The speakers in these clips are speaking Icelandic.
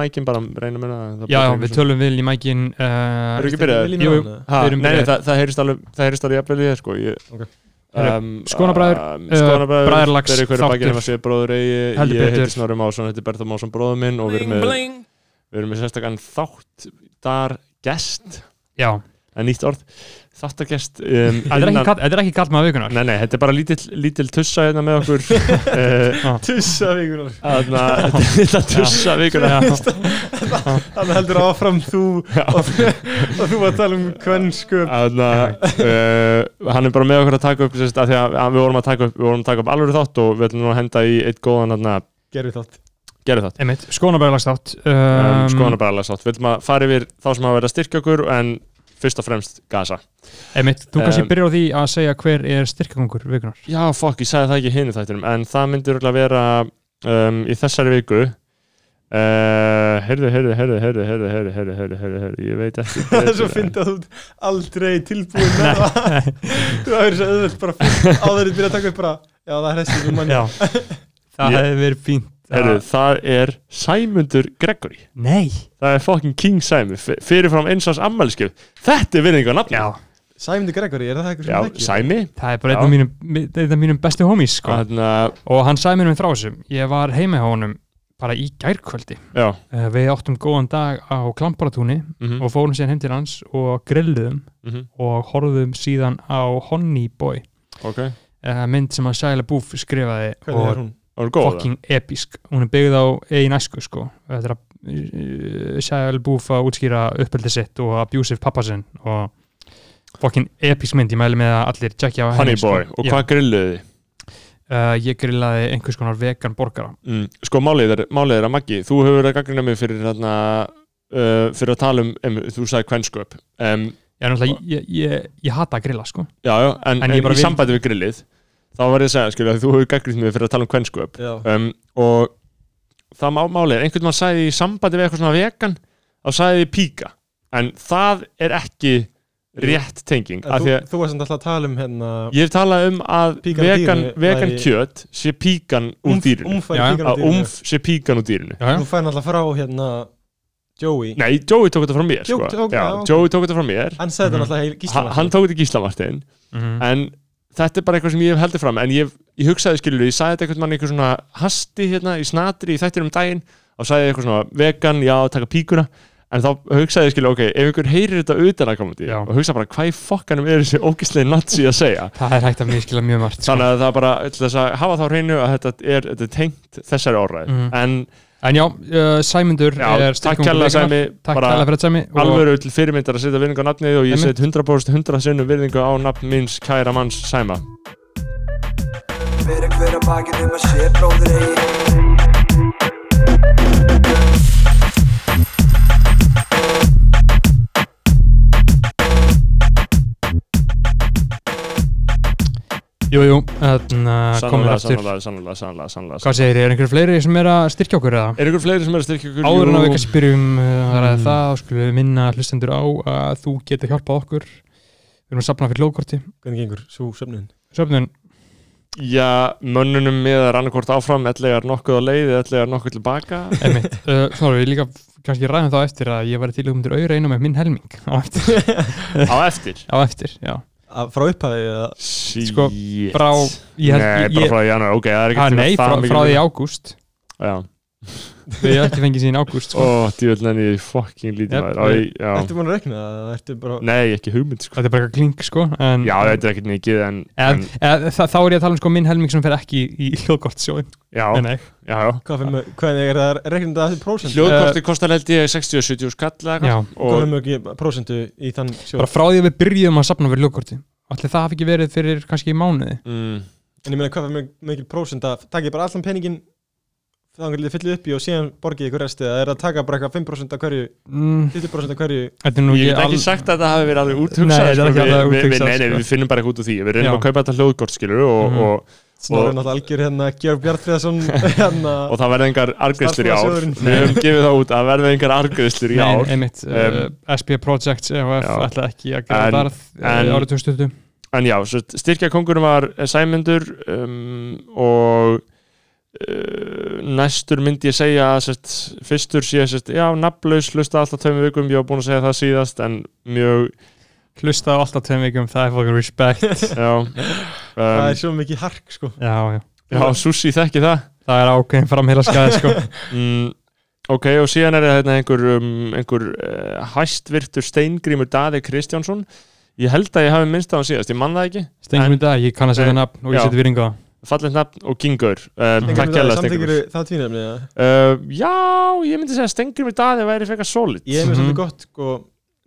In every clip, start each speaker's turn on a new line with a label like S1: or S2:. S1: mækin bara reynum hérna það
S2: Já, já,
S1: bara-
S2: við tölum við í mækin uh,
S1: Eru ekki byrjaðir?
S2: Jú, jú.
S1: Ha,
S2: við
S1: nei,
S2: erum
S1: nei,
S2: byrjaðir.
S1: það, það heyrist alveg það heyrist alveg jafnvel í það sko ég,
S3: Ok.
S2: Herru,
S1: um,
S2: Skonabræður,
S1: um,
S2: uh,
S1: Skonabræður,
S2: Bræðralags
S1: þeir eru hverju
S2: þáttur.
S1: bakið nema sér bróður eigi
S2: Heldur
S1: ég heiti
S2: betur.
S1: Snorri Másson, þetta er Bertha Másson bróður minn og við erum með, við erum með sérstakann þáttar gest
S2: Já,
S1: en nýtt orð, þáttar gest um,
S2: þetta er ekki kall- þetta er ekki kall maður vikunar
S1: Nei, nei, þetta er bara lítill, lítill tussa hérna með okkur uh,
S3: Tussa vikunar
S1: Þarna, þetta er tussa vikuna
S3: Þannig heldur áfram þú og, og þú að tala um kvennsku
S1: Þarna, uh, Hann er bara með okkur að taka upp sérst, að því að, að við vorum að taka upp við vorum að taka upp alveg þátt og við ætlum nú að henda í eitt góðan þarna,
S3: Gerðu þátt
S1: gerðu þátt
S2: Einmitt, skoðanabræðalagstátt
S1: um,
S2: um,
S1: um, skoðanabræðalagstátt, við ætlum að fara yfir þá sem hafa verið að styrkja okkur en fyrst og fremst Gaza
S2: Einmitt, þú kannski
S1: Um,
S2: byrjar á því að segja hver er styrkakongur vikunar
S1: Já, fokk, ég sagði það ekki hinn þættinum en það myndir örugglega vera um, í þessari viku Uh, heyrðu, heyrðu, heyrðu, heyrðu, heyrðu, heyrðu, heyrðu, heyrðu, heyrðu, heyrðu, ég veit ekki
S3: Það er
S1: betur
S3: svo
S1: en-
S3: fyndið að þú ert aldrei tilbúin með það Þú hefur svo auðvöld bara fyrst áður en byrja að taka upp bara Já það er hestur um manni
S2: Já, það
S1: Ég-
S2: hefði verið fínt að-
S1: Herru, það er Sæmundur Gregory
S2: Nei
S1: Það er fucking King Sæmi f- Fyrirfram eins ás ammæliskef Þetta er virðingar nafn
S2: Já,
S3: Sæmundi Gregory, er það eitthvað
S1: Já,
S3: sem það
S1: Sæmi
S3: ekki?
S1: hérna,
S2: það er bara
S1: Já.
S2: einn af mínum, einn af mínum bestu homies sko.
S1: Þannig að,
S2: og hann sagði mér um frá þessum ég var heima hjá honum bara í gærkvöldi
S1: já
S2: Eh, við áttum góðan dag á Klamparatúni
S1: mhm,
S2: og fórum síðan heim til hans og grilluðum
S1: mhm,
S2: og horfðum síðan á Honey Boy
S1: Ok,
S2: eh, mynd sem að Shia LaBeouf skrifaði
S3: Hvernig er
S2: og
S3: hún?
S1: það er góð
S2: fucking episk hún er byggð á eigin æsku sko þetta er að eh, Shia LaBeouf að útskýra uppeldi sitt og abusive pappasinn og fucking episk mynd ég mæli með að allir tjekkja á henni
S1: Honey Boy
S2: sko.
S1: Og
S2: Já.
S1: hvað grilluðu þið?
S2: Eh, ég grillaði einhvers konar vegan borgara
S1: Mm, Sko, málið er, málið er að Maggi Þú hefur verið að gaggrina mig fyrir þarna uh, Fyrir að tala um, um þú sagði kvennsköp um,
S2: ég, er náttúrulega- ég, ég, ég hata að grilla sko
S1: Já, já, en,
S2: En
S1: en,
S2: ég bara
S1: í
S2: vil-
S1: sambandi við grillið Þá var ég að segja, skilja, þú hefur gaggrina mig fyrir að tala um kvennsköp
S3: Já
S1: um, og það má málið er einhvern mann sagði í sambandi við eitthvað svona vegan þá sagði því píka en það er ekki rétt tenging
S3: En
S1: af því
S3: Þú,
S1: að
S3: þú varst alltaf að tala um hérna
S1: ég hef talað um að
S3: Píkan á
S1: vegan,
S3: dýrinu
S1: vegan
S3: væri-
S1: kjöt sé píkan úr dýrinu
S3: Umfæri
S2: Já, já.
S3: píkan á
S1: að
S3: dýrinu
S1: umf sé píkan úr dýrinu
S2: já,
S3: Þú fær alltaf frá hérna Joey
S1: nei, Joey tók þetta frá mér sko.
S3: Jú, tók-
S1: Já,
S3: já, ok.
S1: Joey tók þetta frá mér
S3: Hann sagði
S2: Mhm.
S3: þetta alltaf í
S1: ha,
S3: gísla
S1: hann tók þetta í gíslamartin
S2: Mm.
S1: en þetta er bara eitthvað sem ég hef heldur fram en ég, ég hugsaði skilur, ég sagði þetta einhvern mann einhver svona hasti hérna í snatri í þættir um daginn og sagði ég eitthvað svona vegan, já, taka píkuna en þá hugsaði ég skilur, ok, ef einhver heyrir þetta utan að koma til
S2: Já.
S1: og hugsa bara hvað í fokkanum er þessi ógislega nazi að segja
S2: það er hægt að miskila mjög margt sko.
S1: þannig að það bara, til þess að hafa þá á hreinu að þetta er, þetta er tengt þessari orðræð
S2: Mhm.
S1: en
S2: en já, uh, Sæmundur
S1: já,
S2: er
S1: takk
S2: styrkum
S1: kjærlega Sæmi,
S2: takk
S1: bara
S2: kæla fyrir þetta Sæmi og-
S1: alvöru til fyrirmyndar að setja virðingu á nafnið og ég set
S2: Einmitt.
S1: 100% 100 sinnum virðingu á nafn minns kæra manns Sæma
S4: Fyrir hver að bakið um að sé bróður eigi
S2: jú, jú, þannig að Hérna, komið
S1: Sannlega,
S2: aftur
S1: sannlega, sannlega, sannlega, sannlega
S2: hvað segir, er einhver fleiri sem er að styrkja okkur eða?
S1: Er ykkur fleiri sem er að styrkja ykkur?
S2: áður en
S1: Jú,
S2: að við kannski byrjum uh, að ræða
S1: Mm.
S2: það og skulum við minna hlustendur á að þú getur hjálpað okkur við erum að sapna fyrir lóðkorti
S3: Hvernig gengur, svo söfnin
S2: söfnun,
S1: Já, mönnunum miðar annarkort áfram ellegar nokkuð á leið, ellegar nokkuð tilbaka
S2: einmitt uh, þá erum við líka kannski ræðum þá eftir að ég var til um til auðra einu með minn helming á eftir,
S1: Á eftir
S2: á eftir já.
S3: Að- Frá upphæði eða
S1: Shit
S2: Sko, frá, ég held
S1: Nei,
S2: ég-
S1: bara
S2: ég-
S1: frá janúar, ok, það er ekki
S2: Ah, nei, frá, frá því í ágúst
S1: Já,
S2: við hefum ekki fengið síðan í ágúst
S1: ó,
S2: sko.
S1: djúvöldin en ég fucking lítið
S2: Jep,
S1: maður Æ, já.
S3: Ertu búin að rekna það? eða Ertu bara
S1: Nei, ekki hugmynd, sko
S2: þetta er bara eitthvað klink sko, en,
S1: Já, þetta er ekkert mikið, en, en
S2: en, en, þa þá er ég að tala um sko, minn helming sem fer ekki í hljóðgóttsjóðin
S1: Já, já, já
S3: Hvað fyrir mörg, hvernig er það reiknum þetta að því prósentu?
S2: Eh,
S1: Hljóðkorti kostar held ég 60-70 skall eða eitthvað.
S3: Eh, Hvað
S1: og
S3: fyrir mörg prósentu í þann sjóð?
S2: bara frá því að við byrjuðum að sapna fyrir hljóðgótti allir það hafi ekki verið fyrir kannski mánuði
S1: mm,
S3: En ég meina hvað fyrir mörg prósenta? Takk ég bara allan peningin þá hann getið fyllið upp í og síðan borgið ykkur restið eða er það að taka bara eitthvað 5% af hverju
S2: mm,
S3: 50% af hverju
S2: þetta er nú
S1: Ég
S2: ekki
S1: get ekki
S2: al-
S1: sagt að það hafi verið alveg
S2: Nei,
S1: úthugsað
S2: þetta er
S1: sko,
S2: ekki
S1: við- við-
S2: alveg
S1: við-
S2: úthugsað,
S1: Nei, nei,
S2: sko.
S1: við finnum bara eitthvað út úr því Við reynum
S2: Já.
S1: að kaupa þetta hljóðkort, skilur og,
S2: Mhm.
S1: og,
S3: Snorri er náttúrulega algjör hérna Georg Bjartfriðarsson hérna
S1: og það verða engar argriðslur í ár
S3: Starfsmannasjóðurinn.
S1: Við höfum gefið það út að verða engar argriðslur í
S2: Nei,
S1: ár
S2: einmitt, um, SP Projects EHF
S1: Já.
S2: ætla ekki að gera
S1: En-
S2: darð
S1: en-
S2: eh, árið 2020
S1: En já, styrkja kongur var eh, Sæmundur um, og uh, næstur myndi ég segja að sest, fyrstur sé sest, já, nafnlaus, hlusta alltaf tveimur vikum ég var búin að segja það síðast en mjög,
S2: hlusta á alltaf tveim vikum, það er fucking respect
S1: já um,
S3: það er svo mikið hark sko
S2: já, já,
S1: já, Susi þekki það
S2: það er ákveðin framheila skæði sko
S1: mm, ok, og síðan er það hérna, einhver, um, einhver uh, hæstvirtur steingrímur Daði Kristjánsson ég held að ég hafi minnst á hann síðast, ég man það ekki
S2: Stengum í dag, ég kann að segja
S1: Eh,
S2: nafn og ég
S1: já.
S2: seti virðingu á það.
S1: fallið nafn og gingur um,
S2: Steingrímur
S1: takk hella Steingrímur uh,
S3: það tvínefni eða?
S1: já, ég myndi segja að steingrímur Daði væri frekar solid
S3: ég er
S2: Mhm.
S3: mér svolítið gott sko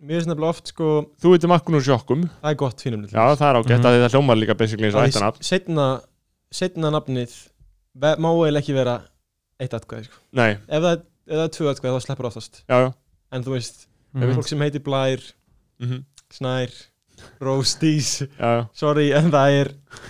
S3: mér er svona oft sko
S1: þú veitum akkur úr sjokkum,
S3: það er gott tvínefni
S1: já það er ágætt
S2: Mhm.
S1: mm. að það hljómar líka basically eins og þetta nafn
S3: setna setna nafnið ve- má eiginlega ekki vera eitt atkvæði sko
S1: nei,
S3: ef það, er- ef það er tvö atkvæði þá sleppur oftast
S1: já, já
S3: en þú veist
S2: Mhm.
S3: fólk sem heitir Blær
S1: mm
S3: Snær Rose Dees
S1: já, já,
S3: sorry en það er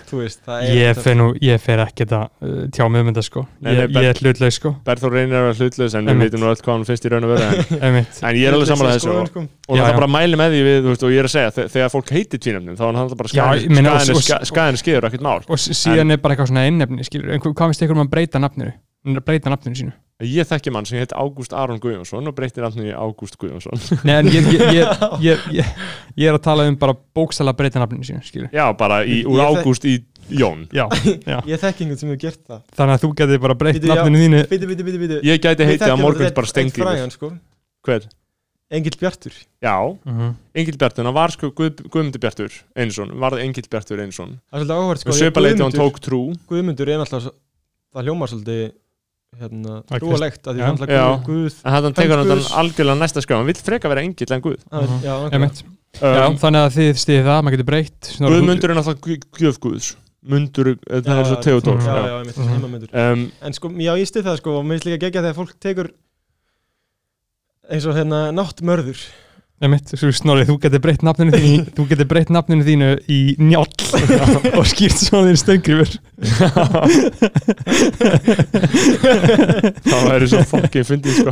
S3: þú veist það er
S2: Ég fer nú, ég fer ekki þetta uh, tjá mig um þetta sko
S1: Nei,
S2: Ég,
S1: nei, bara-
S2: ég er hlutleg sko
S1: Berþór reynir að vera hlutlaus en við
S2: Einmitt.
S1: veitum nú öll hvað hann finnst í raun og vera en,
S2: einmitt.
S1: en ég er alveg samanlega þessu
S3: Skoðun,
S1: og,
S3: sko.
S1: og
S2: Já,
S1: það
S2: já.
S1: bara mæli með því við, þú veist, og ég er að segja, þe- þegar fólk heitir tvínefnum þá er hann bara
S2: Já, ég meina, og-
S1: skæðinu
S2: og-
S1: skæðinu skýður ekkert mál
S2: Og s- síðan er bara eitthvað svona einnefni skilur, en hva- hvað finnst ykkur um að breyta nafninu? Hún er að breyta nafninu sínu
S1: Ég þekki mann sem heit Ágúst Aron Guðjónsson og breytir nafninu í Ágúst Guðjónsson
S2: Nei, en ég, ég, ég, ég, ég, ég er að tala um bara bókstæla að breyta nafninu sínu skilur
S1: Já, bara í, úr
S3: Ég þek-
S1: Ágúst í Jón
S2: Já,
S3: ég þekki einhvern sem hefur gert það
S2: þannig að þú getur bara breytt
S3: Bíddu, já.
S2: nafninu þínu
S3: bíti bíti bíti bíti
S1: Ég gæti heitið að morgun bara Stengrímur
S3: frægan sko
S1: Hver?
S3: Engil Bjartur
S1: Já,
S2: mm
S1: Engil Bjartur, hann var sko Guð, Guðmundur Bjartur Einsson, varð Engil Bjartur Einsson
S3: það er svolítið áhverð sko
S1: Með
S3: því að
S1: svipa leiti hann
S3: Guðmundur-
S1: tók trú
S3: Guðmundur er náttúrulega svo- það hljómar svolítið hérna
S2: Það er
S3: trúalegt að því
S2: Já.
S3: hann náttúrulega
S1: Já.
S3: Guð- Guð
S1: En hann
S3: Hann
S1: tekur hann
S3: Guðs.
S1: þann algjörlega næsta skrá Hann vill freka vera Engil en Guð
S3: hann-
S2: Mhm.
S3: já, nákvæmlega.
S2: Einmitt. Já,
S1: um,
S2: Þannig að þið stiði það, maður getur breytt Snorra, þú-
S1: Guðmundur er náttúrulega Gu- gjöf Guðs Mundur, eh, það
S3: Já,
S1: er svo
S3: já,
S1: Theodór
S3: já,
S1: já.
S3: já, einmitt,
S2: Mhm.
S3: heimamundur
S1: Um,
S3: En sko, já, ég stið það sko og mér finnst líka gegja þegar fólk tekur eins og hérna náttmörður
S2: Einmitt, svo snorrið, þú getur breytt nafninu þínu í- Þú getur breytt nafninu þínu í njáll Og skýrt svona þín stöngrifur
S1: Það væri svo fokkin fyndið sko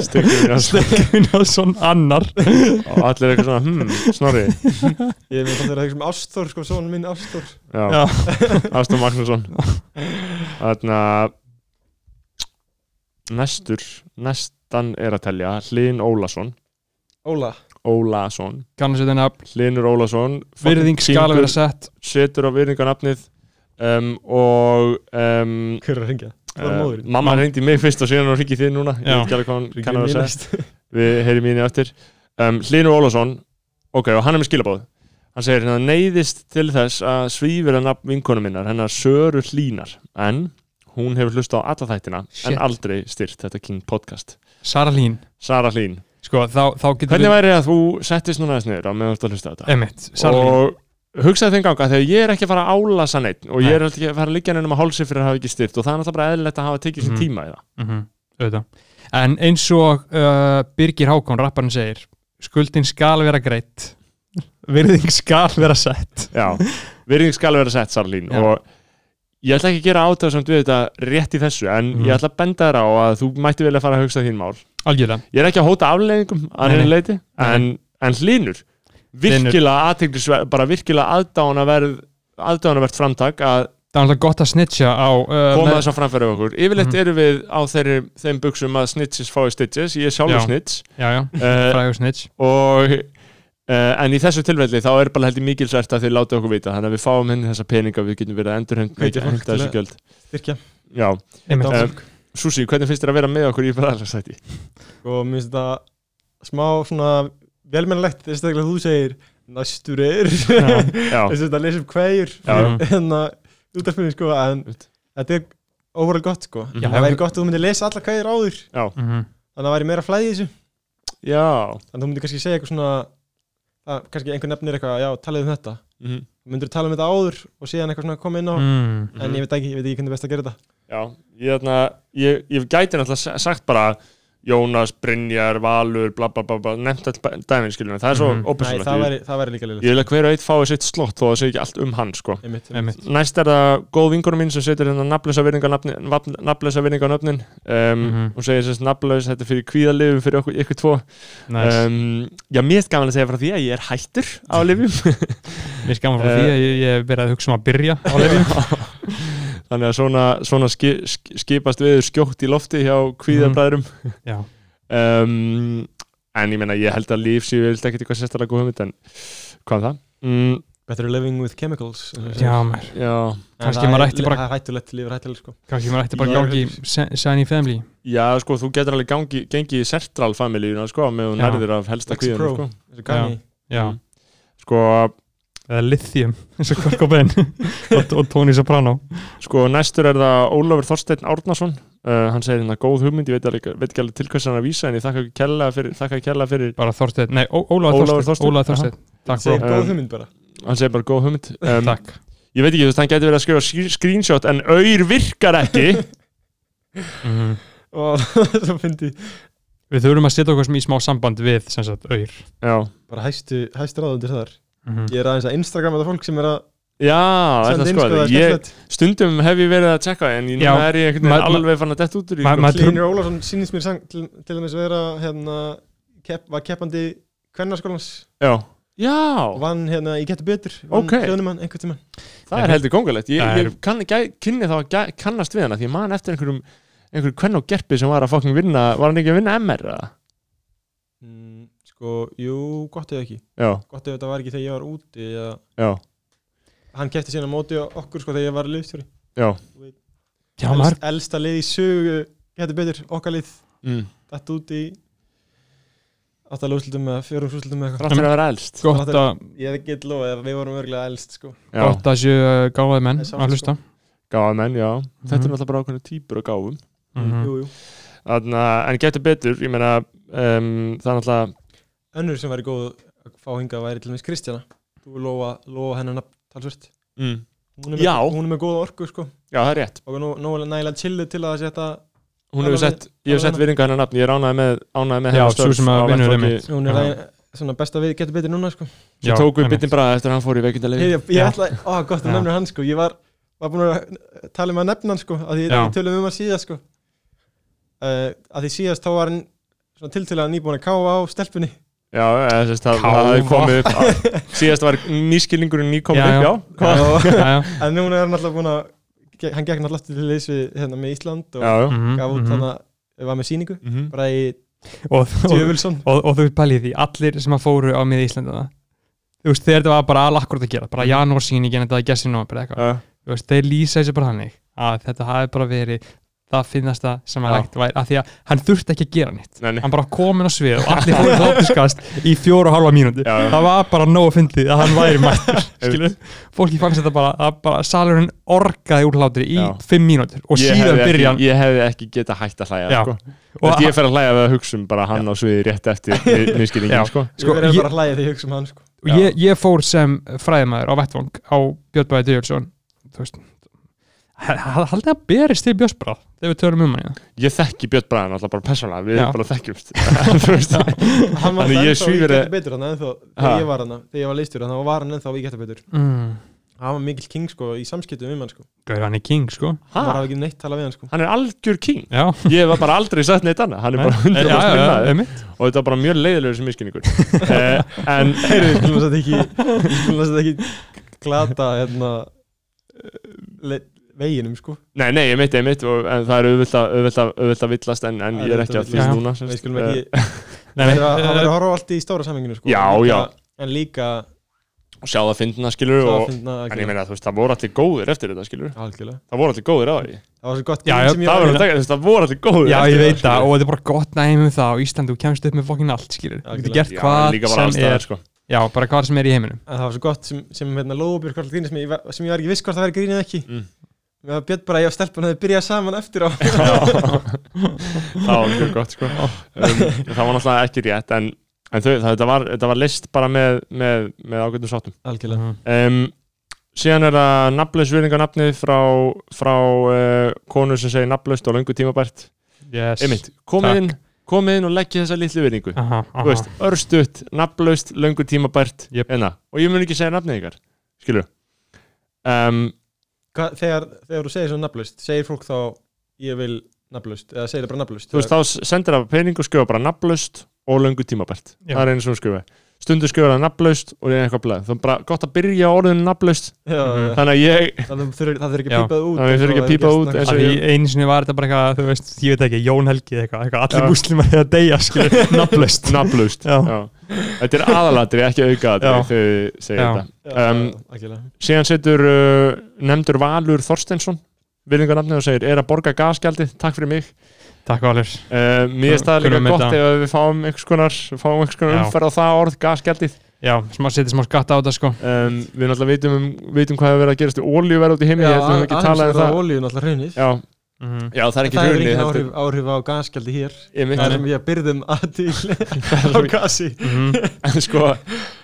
S1: Stökkur
S2: Stöngrifur Njálsson annar
S1: og allir eitthvað svona hmm, snorri
S3: Ég finnst það þegar það er sem Ástór sko, svona minn Ástór
S1: já,
S2: Já.
S1: Aston Magnússon þarna næstur næstan er að telja Hlyn Ólason
S3: Óla
S1: Ólason
S2: Kannu sér þetta nafn
S1: Hlynur Ólason
S2: Virðing skal vera sett
S1: setur á virðingarnafnið um, og um,
S3: Hver er að ringja? Það var
S1: eh,
S3: móðurinn
S1: mamma hringdi í mig fyrst og síðan hún ringið þið núna ég
S2: Já.
S1: veit ekki alveg hvað hann kann að vera að segja
S3: segja
S1: við heyrim í henni eftir um, Hlynur Ólafsson, ok, og hann er með skilabóð hann segir hérna neyðist til þess að svífur að nafn vinkonu minnar hennar Söru Hlínar, en hún hefur hlusta á alla þættina,
S2: Shit.
S1: en aldrei styrt þetta King podcast
S2: Sara Lín
S1: Sara Hlín,
S2: Sko, þá, þá getur
S1: hvernig væri að þú settist núna þess niður á meðan þú ert að hlusta á þetta
S2: Einmitt, Eh, Sara Lín
S1: og hugsaði þeim ganga þegar ég er ekki að fara að álasa neitt og ég er ekki að fara að liggja neinum að hálsi fyrir að hafa ekki styrt og það er náttúrulega bara eðlilegt að hafa tekið sér
S2: Mhm.
S1: tíma í það
S2: Mhm, auðvitað. En eins og uh, Birgir Hákon, rapparinn segir Skuldin skal vera greitt Virðing skal vera sett
S1: Já, virðing skal vera sett Sarlín
S2: Já.
S1: og ég ætla ekki að gera átöðsamt við þetta rétt í þessu en
S2: Mhm.
S1: ég ætla að benda þér á að þú mætti vel að fara að hugsa þín mál
S2: Algjörlega
S1: Ég er ekki að hóta afleðingum að
S2: Nei,
S1: henni
S2: nei.
S1: leiti en, en hlínur
S2: Hlynur.
S1: virkilega aðteglisverð bara virkilega aðdánaverð aðdánaverð framtak að
S2: Það er alltaf gott að snitja á uh,
S1: koma
S2: með-
S1: þess að framfæra okkur yfirleitt
S2: Mhm.
S1: erum við á þeirri, þeim buksum að snitches fái stitches, ég er sjálfur
S2: Já.
S1: snitch
S2: Já, já,
S1: uh,
S2: frægur snitch
S1: og Uh, en í þessu tilfelli þá er bara heldur mikilsvært að þið láta okkur vita þannig að við fáum henni þessa peninga við getum verið að endurhengta
S3: Hvetja fólk til
S1: þessu
S3: að-
S1: gjöld
S3: Styrkja
S1: Já,
S2: Einmitt.
S1: um, Susi, hvernig finnst þér að vera með okkur í bræðarsæti?
S3: Og mér finnst þetta smá svona velmennilegt þess að þú segir næstur er þess
S1: Já,
S3: að þetta lesa upp hverjur
S2: Já.
S3: hérna útarfinu sko en
S1: Veit.
S3: þetta er óvarlega gott sko
S1: Mhm.
S3: það væri gott að þú myndir lesa alla hverjur áður
S2: Mhm.
S3: þannig að það væri meira flæði í þessu
S1: já
S3: þannig að þú myndir kannski segja eitthvað svona að, kannski einhver nefnir eitthvað, já, talaðu um þetta
S1: Mhm.
S3: þú myndir tala um þetta áður og síðan eitthvað svona koma inn á
S2: mm.
S3: en ég veit ekki, ég veit ekki hvernig best að gera þetta
S1: Já, ég, þarna, ég, ég gæti náttúrulega sa- sagt bara Jónas, Brynjar, Valur bla bla bla, bla nefnt all dæminn skiljum það er svo
S2: Mhm.
S1: mm.
S3: Nei, það
S1: ópersonlegt
S3: væri, það væri líka
S1: Ég-
S3: liðlega
S1: Ég vil að hver og eitt fái sitt slott þó að það sé ekki allt um hann sko.
S3: einmitt, einmitt.
S2: Einmitt.
S1: Næst er það góð vingunum mín sem setur hérna nafnlösa virðinga nöfnin um,
S2: Mhm.
S1: og segir sérst nafnlaus, þetta er fyrir kvíðalifum fyrir okkur, ykkur tvo
S2: Nice.
S1: um, Já, mér er gaman að segja frá því að ég er hættur á lifum
S2: Mér er gaman frá
S1: Eh,
S2: því að ég, ég hef verið að hugsa um að byrja
S1: á lifum þannig að svona, svona ski, ski, skipast viður skjótt í lofti hjá kvíðabræðrum
S2: já, Mhm.
S1: um, en ég meina ég held að líf séu vilt ekkert eitthvað sérstaklega góð hugmynd en hvað um það? Mm,
S3: Better living with chemicals eins
S2: já,
S3: og segir.
S2: mér
S1: já,
S3: En
S2: kannski
S3: það
S2: maður
S3: er-
S2: ætti bara-
S3: Það er hættulegt, lífur hættulegt sko
S2: kannski maður ætti bara
S3: Já.
S2: að gangi sæni í family
S1: já sko þú getur alveg gangi, gengið í sertral familíuna sko með hún
S2: Já.
S1: herðir af helsta kvíðan
S3: Lexapro.
S1: sko.
S3: Eins og Kanye.
S2: já,
S1: Mm. sko
S2: eða lithium eins og Kurt Cobain og, og Tony Soprano
S1: Sko næstur er það Ólafur Þorsteinn Árnason uh, hann segir hérna góð hugmynd, ég veit, alveg, veit ekki alveg til hvers hann er að vísa en ég þakka kella fyrir, þakka kella fyrir
S2: bara Þorsteinn, nei, Ó- Ólafur
S1: Ólafur
S2: Þorsteinn
S1: Þorsteinn,
S2: Ólafur Þorsteinn, takk
S3: Segir
S1: Segðu-
S2: bro,
S3: góð
S1: Um,
S3: hugmynd bara
S1: hann segir bara góð hugmynd um,
S2: takk
S1: ég veit ekki, þú veist, hann getur verið að skrifa skr- screenshot en auður virkar ekki
S2: Mhm.
S3: Og svo fyndi
S2: við þurfum að setja okkur sem í smá samband við sem sagt, auður
S1: Já,
S3: Bara hæstu, hæstu ráðundir þar
S2: Mhm.
S3: Ég er aðeins að Instagrama þetta fólk sem er að
S1: já er það
S3: senda inn,
S1: sko
S3: það er
S1: ég,
S3: skemmtilegt.
S1: stundum hef ég verið að tjekka en ég
S2: Já,
S1: núna er ég einhvern
S2: ma- ma-
S1: veginn alveg fann að detta út úr í
S2: ma- ma-
S1: sko.
S3: Hlynur Ólafsson sýnist mér sang, til, til dæmis vera hérna, kepp, var keppandi kvennarskólans
S1: Já, já,
S3: vann hérna í Getur Betur vann
S1: Ókei.
S3: hljóðnumann einhvern tímann
S1: það er heldur kongulegt ég,
S2: Það er-
S1: ég kann, gæ, kynni þá að gæ- kannast við hana því ég man eftir einhverjum einhverjum kvenn og gerpi sem var að fucking vinna var hann ekki að vinna MR eða?
S3: mm, sko, jú, gott eða ekki
S1: Já,
S3: gott ef þetta var ekki þegar ég var úti eða,
S1: já,
S3: hann keppti síðan á móti okkur sko þegar ég var liðstjóri
S1: já
S2: já, maður,
S3: elsta lið í sögu Getur Betur, okkar lið
S1: mm.
S3: dætt úti í áttalega úrslutum eða fjórumsúrslutum eða eitthvað
S1: Þrátt fyrir að vera elst
S2: gott að
S3: ég get lofa að við vorum örgulega elst sko
S1: Já,
S2: gott að séu gáðaði menn
S3: Það er sko. sárt,
S2: að hlusta
S1: gáða menn, já Þetta er
S2: Mhm.
S1: náttúrulega bara ákveðna týpur og gáfum
S2: Mhm.
S3: jú, jú.
S1: Þarna, En getur betur, ég meina um, Það er náttúrulega,
S3: önnur sem væri góð að fá hingað væri til dæmis Kristjana þú lofa, lofa hennar nafn talsvert
S1: mm.
S3: hún er,
S1: Já.
S3: með, hún er með góða orku sko
S1: já það er rétt
S3: og nú, nú er nægilega chillu til að setja
S1: Hún
S3: Tala
S1: hefur
S3: við-
S1: sett, ég hef
S3: tala við
S1: sett virðinga hennar nafn Ég er ánæði með, ánæði með
S2: Já,
S1: hennar
S2: sú sem að
S1: á
S2: vinnur
S1: vettvangi.
S2: einmitt.
S3: hún er
S2: Já.
S3: að, svona besta við getur betur núna sko
S2: Já,
S1: Ég tók við
S2: einmitt.
S1: bitin bara eftir að hann fór í veikindalegi
S3: ég, ég, ég
S2: Já.
S3: ætla, ó gott
S2: Já.
S3: að nefnir hann sko ég var, var búin að tala um að nefna hann sko að
S2: Já.
S3: því við tölum um að síðast sko uh, að því síðast þá var hann svona tiltölulega nýbúin að káfa á stelpunni
S1: Já, eða þess að
S2: Káfa.
S1: það hefði komið upp að- Síðast var nýskilningurinn nýkomin
S2: Já,
S1: upp, já Hvað?
S3: og,
S2: Já, já.
S3: en núna er hann alltaf búin að ge- hann gekk náttúrulega til liðs við hérna með Ísland og
S1: Já, já
S2: Mhm,
S3: gaf
S2: mhm.
S3: út mm -hmm. hann var með síningu
S1: Mhm.
S3: bara í
S2: og, og,
S3: Djöfulsson
S2: og, og þú veist pælið því allir sem að fóru á miði Íslanda þú veist þegar þetta var bara alakkur að gera bara
S3: Mhm.
S2: janúarsýningin þetta að gæsi nómber eitthvað
S1: Já,
S2: þú veist þeir lýsa þessu bara hannig að þetta hafi bara verið það finnast það sem að
S1: Já.
S2: hægt væri að því að hann þurfti ekki að gera neitt
S1: Nei, nei.
S2: hann bara komin á svið og allir fóru hlátuskast í fjóru og halva mínúti
S1: Já, já.
S2: það var bara nóg að fyndið að hann væri mættur skilur. fólki fannst þetta bara, að bara salurinn orgaði úr hlátri í
S1: Já.
S2: fimm mínútur og
S1: Ég
S2: síðan
S1: hefði ekki-
S2: byrja hann
S1: Ég hefði ekki geta hægt að hlæja
S2: Já.
S1: sko.
S2: Og
S1: Þetta
S2: hann-
S1: ég fer að hlæja við að hugsa um bara hann á sviði rétt eftir
S2: Já.
S1: nýskilningin sko.
S3: sko,
S2: Sko,
S3: ég verði
S2: ég-
S3: bara að hlæja þegar ég hugsa um hann sko.
S2: og ég, ég fór sem fræðimæður á vettvang á Björn Bæði Dyrjölsson þú veist haldið að berist til Björnsbráð þegar við tölum um hann
S1: ég þekki Björn Bræðan alltaf bara persónulega, við
S2: Já.
S1: erum bara þekkjumst Þú veist.
S3: hann var
S1: Þannig
S3: alltaf
S1: ég
S3: ennþá í
S1: svífur-
S3: getur betur hann ennþá
S1: Ha.
S3: þegar ég var hann þegar ég var leistur hann var hann ennþá í getur betur
S2: mm.
S3: hann var mikill king sko í samskiptum um hann sko
S2: Gauður hann er king sko
S1: Ha?
S3: hann var ekki neitt talað við hann sko
S1: hann er algjör king
S2: já,
S1: ég hef bara aldrei sagt neitt annað hann er bara
S2: já,
S1: hundur
S2: já, já,
S1: og
S2: einmitt.
S1: þetta er bara mjög leiðilegur sem miskinningur eh, en
S3: heyrðu, ég skulum að þetta ekki ég skulum að þetta ekki glata hérna le, veginum sko
S1: nei, nei, ég mitt, ég mitt og, en það er auðvelt að- auðvelt að- auðvelt að villast en, en
S3: Það er
S1: ég er ekki
S3: auðvelt að
S1: að því
S2: villast.
S1: núna
S3: við
S1: semst,
S3: skulum
S1: eh,
S3: ekki
S2: Nei,
S3: það
S2: nei,
S3: er að það verður
S2: eh,
S3: að horfa á allt í stóra samhenginu sko
S1: Já,
S3: En líka-
S1: já.
S3: en líka
S1: og sjá það fyndina skilur
S3: það
S1: og,
S3: finna
S1: en ég meina, þú veist, það voru allir góðir eftir þetta skilur
S3: algjörlega
S1: það voru allir góðir á því
S3: það var svo gott
S2: Já,
S3: grín
S2: já,
S3: sem
S1: það
S3: ég var hérna-
S1: voru,
S3: með.
S1: að taka- þú veist, það voru allir góðir
S2: já, ég
S1: eftir
S2: veit
S1: þetta,
S2: það og þetta er bara gott næmi um það á Íslandi og kemst upp með fokkin allt skilur þú getur
S3: Algjörlega.
S1: skilur. Já,
S2: gert
S1: en
S2: hvað
S1: líka bara
S2: sem
S1: allstaðar
S2: er
S1: sko.
S2: já, bara hvað sem er í heiminum
S3: En það var svo gott sem, sem hérna, Lóðbjörg var alltaf grín sem ég, var- sem ég var ekki viss hvort það væri grín eða ekki
S1: Mm.
S3: Mér var bjött bara að ég og stelpun hefði byrjað saman eftir á
S1: það var mjög gott sko. um, það var náttúrulega ekki rétt en, en þau, það, þetta, var, þetta var list bara með, með, með ágættum sáttum
S3: Algjörlega
S2: Mhm.
S1: um, síðan er það nafnlaus virðingarnafni frá, frá uh, konu sem segir nafnlaust og löngu tímabært
S2: yes
S1: einmitt, komið inn, komið inn og leggja þessa litlu virðingu
S2: aha,
S1: Þú
S2: aha.
S1: veist, örstutt, nafnlaust, löngu tímabært
S2: Jep.
S1: hérna. og ég mun ekki segja nafnið ykkar skilur um,
S3: Hva, þegar, þegar þú segir svona nafnlaust segir fólk þá ég vil nafnlaust eða segir það bara nafnlaust
S1: þú veist, þá sendir það pening og skjóða bara nafnlaust og löngu tímabært
S2: Já.
S1: það er einu sem skjóða stundu skrifar það nafnlaust og er eitthvað bleð, þannig bara gott að byrja á orðinu nafnlaust,
S3: Já,
S2: Mhm.
S1: þannig að ég
S3: Það þurfi það þurfi ekki
S2: Já.
S3: að pípa það út
S1: Það þurfi ekki að
S3: eins og
S1: pípa
S3: það um-
S1: út
S3: hefur
S1: eins
S2: Af
S1: og
S2: því
S1: ég-
S2: einu sinni var þetta bara eitthvað, þú veist, ég veit ekki, Jón Helgi eða eitthvað, eitthvað allir
S1: Já.
S2: múslimar er að deyja, skilur, nafnlaust.
S1: nafnlaust
S2: Já.
S1: þetta er aðalatri, ekki aukaatri
S2: Já.
S1: þegar þið segir
S2: Já.
S1: þetta
S3: gerst.
S1: Um,
S3: Já, algjörlega.
S1: síðan setur uh, nefndur Valur Þorstensson virðingarnafnið og segir, er að borga gasgjaldið takk fyrir mig
S2: Takk Valur.
S1: uh, mér er staðar líka
S2: Kunum
S1: gott
S2: þetta.
S1: ef við fáum einhvers konar, fáum einhvers konar
S2: Já.
S1: umferð á það orð, gasgjaldið
S2: Já, smá setja smá skatta á þetta, sko.
S1: um, við náttúrulega vitum, um, vitum hvað hefur verið að gerast í olíuverð út í heimi,
S3: Já,
S1: ég held að við höfum
S3: aðeins
S1: ekki talað um
S3: verða
S1: það
S3: olíun alltaf hrunið
S1: já,
S2: Mhm.
S1: já, það er ekki
S3: Það hefur
S1: hrunið,
S3: engin
S1: heldur-
S3: áhrif, áhrif á gasgjaldi hér
S1: einmitt.
S3: Það er mjög byrðum að til um á gasi
S2: Mhm.
S1: en sko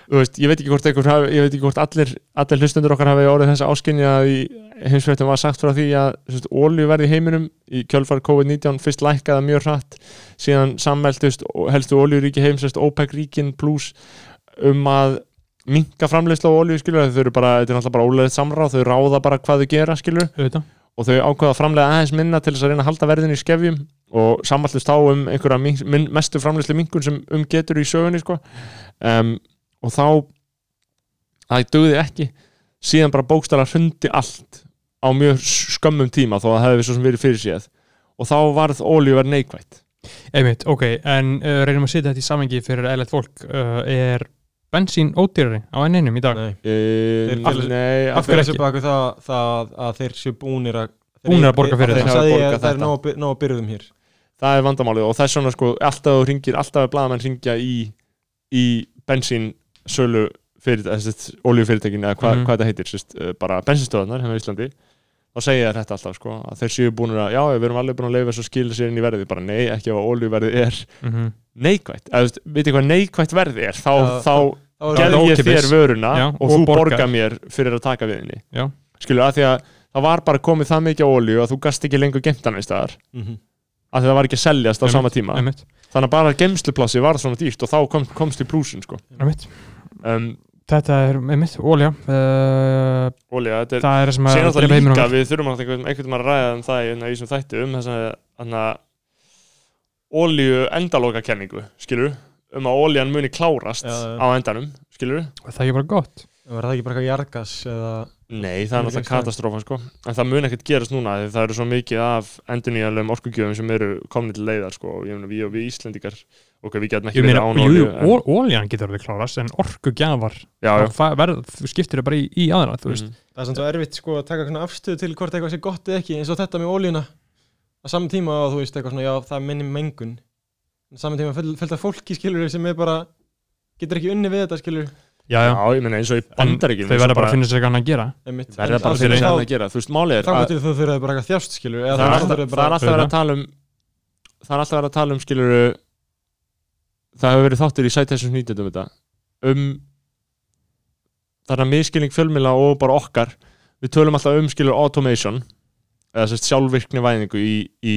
S1: þú veist, ég veit ekki hvort, einhver, hafi- ég veit ekki hvort allir, allir hlustundur okkar hafi orðið þessa áskynja að í heimsfjöldum var sagt frá því að ólju verði í heiminum í kjölfar COVID-19 fyrst lækkaða mjög hratt síðan sammeldust helstu óljuríki heimsest OPEC ríkin plus um að minka framleiðslu á ólju skilur þau eru bara, þetta er náttúrulega bara ólega samráð þau ráða bara hvað þau gera skilur
S2: Auðvitað.
S1: og þau ákvaða að framleiða aðeins minna til þess að reyna að halda verðinu í skefjum og samallist á um einhverja mink, minn, mestu framleiðslu minkun sem um getur í sögunni sko. um, og þá það dugði ekki síðan bara bókstala hrundi allt á mjög skömmum tíma þó að það hefði svo sem verið fyrir síðan og þá varð ólíuverð neikvætt
S2: Einmitt, ok, en uh, reynum að setja þetta í samengi fyrir eðlægt fólk uh, er bensín ódýrari á enninum í dag
S3: Nei.
S1: e,
S3: Þeir- allir-
S1: Nei,
S3: Af
S1: allir-
S2: hverju
S3: hverju þessu baku það, það að þeir séu búnir að
S2: Búnir að borga fyrir
S1: þetta.
S3: Það
S1: Þeir hafa borgað
S3: er
S1: þetta.
S3: ná að byrðum hér
S1: það er vandamálið og þess vegna sko alltaf þú ringir, alltaf er blaðamenn ringja í, í bensín sölu fyrir þessi oljufyrirtækin eða hva,
S2: Mhm.
S1: hvað þetta heitir, sérst, eh, bara bensinstöðunar hérna á Íslandi, þá segja þér þetta alltaf sko, að þeir séu búin að, já, við erum alveg búin að leifa þessu að skila sér inn í verðið, bara nei, ekki ef að oljuverðið er
S2: mm -hmm.
S1: neikvætt, eða þú veist, vitið hvað neikvætt verðið er, þá,
S3: Já,
S1: þá
S3: Þá
S2: Gerðu-
S3: er-
S1: gerði ég
S2: ókeypis.
S1: þér vöruna
S2: Já,
S1: og,
S2: og
S1: þú
S2: borgar.
S1: borgar mér fyrir að taka við henni
S2: Já.
S1: skilu, að því að það var bara komið það mikið á olju að þú gast ekki lengur gemt hann einstæðar
S3: Mhm.
S1: að því það var ekki að seljast á sama tíma
S2: Einmitt,
S1: þannig að bara geimsluplassi var svona dýrt og þá kom, komst í plúsin sko.
S2: einmitt
S1: um,
S2: Þetta er, einmitt, ólja uh,
S1: Ólega, þetta er
S2: Það er það sem
S1: síðan
S2: að
S1: alltaf
S2: heiminum
S1: líka,
S2: okkar.
S1: við þurfum alltaf einhvern einhvern veginn að ræða um það í hérna, í þessum þætti um þess að ólíu endaloka kenningu skilur, um að ólían muni klárast
S3: Já, já.
S1: á endanum, skilur
S2: Það er ekki bara gott
S3: Var það ekki bara eitthvað jargas eða
S1: Nei, það er
S3: Muni
S1: náttúrulega
S3: ekki
S1: katastrófa sko. en það mun ekkert gerast núna því það eru svo mikið af endurnýjanlegum orkugjöfum sem eru komni til leiðar sko. og ég meina við og við Íslendingar okkar við getum ekki
S2: Ég meina,
S1: verið án
S2: jú,
S1: olíu
S2: jú,
S1: en-
S2: óljan getur alveg klárast en orku gjafar
S1: Já, já.
S2: þú skiptir það bara í, í aðra þú veist
S1: Mhm.
S3: Það er samt svo erfitt sko að taka svona afstöðu til hvort eitthvað sé gott eða ekki eins og þetta með ólíuna á saman tíma að þú veist eitthvað svona já það er minni mengun en saman tíma fullt full af fólki skilur sem er bara getur ekki unni við þetta skilur
S2: Já, já,
S1: Já, ég meina eins og í
S2: en
S1: bandaríkjum
S2: þau verða bara að finna sér eitthvað annað að gera
S3: einmitt
S1: verða
S3: En
S1: bara
S3: þá-
S1: að finna sér
S3: þá-
S1: annað að gera þú veist, málið er
S3: þá
S1: að
S3: getur þú þurfið bara eitthvað þjást skilur eða
S1: það er
S3: þá
S1: alltaf
S3: þurfið
S1: það er alltaf verið að tala um það er alltaf verið að tala um skilur það hefur verið þáttur í sætessum snýtjandum þetta um þarna miskilning fjölmila og bara okkar við tölum alltaf um skilur automation eða sérst sjálfvirkni væðingu í, í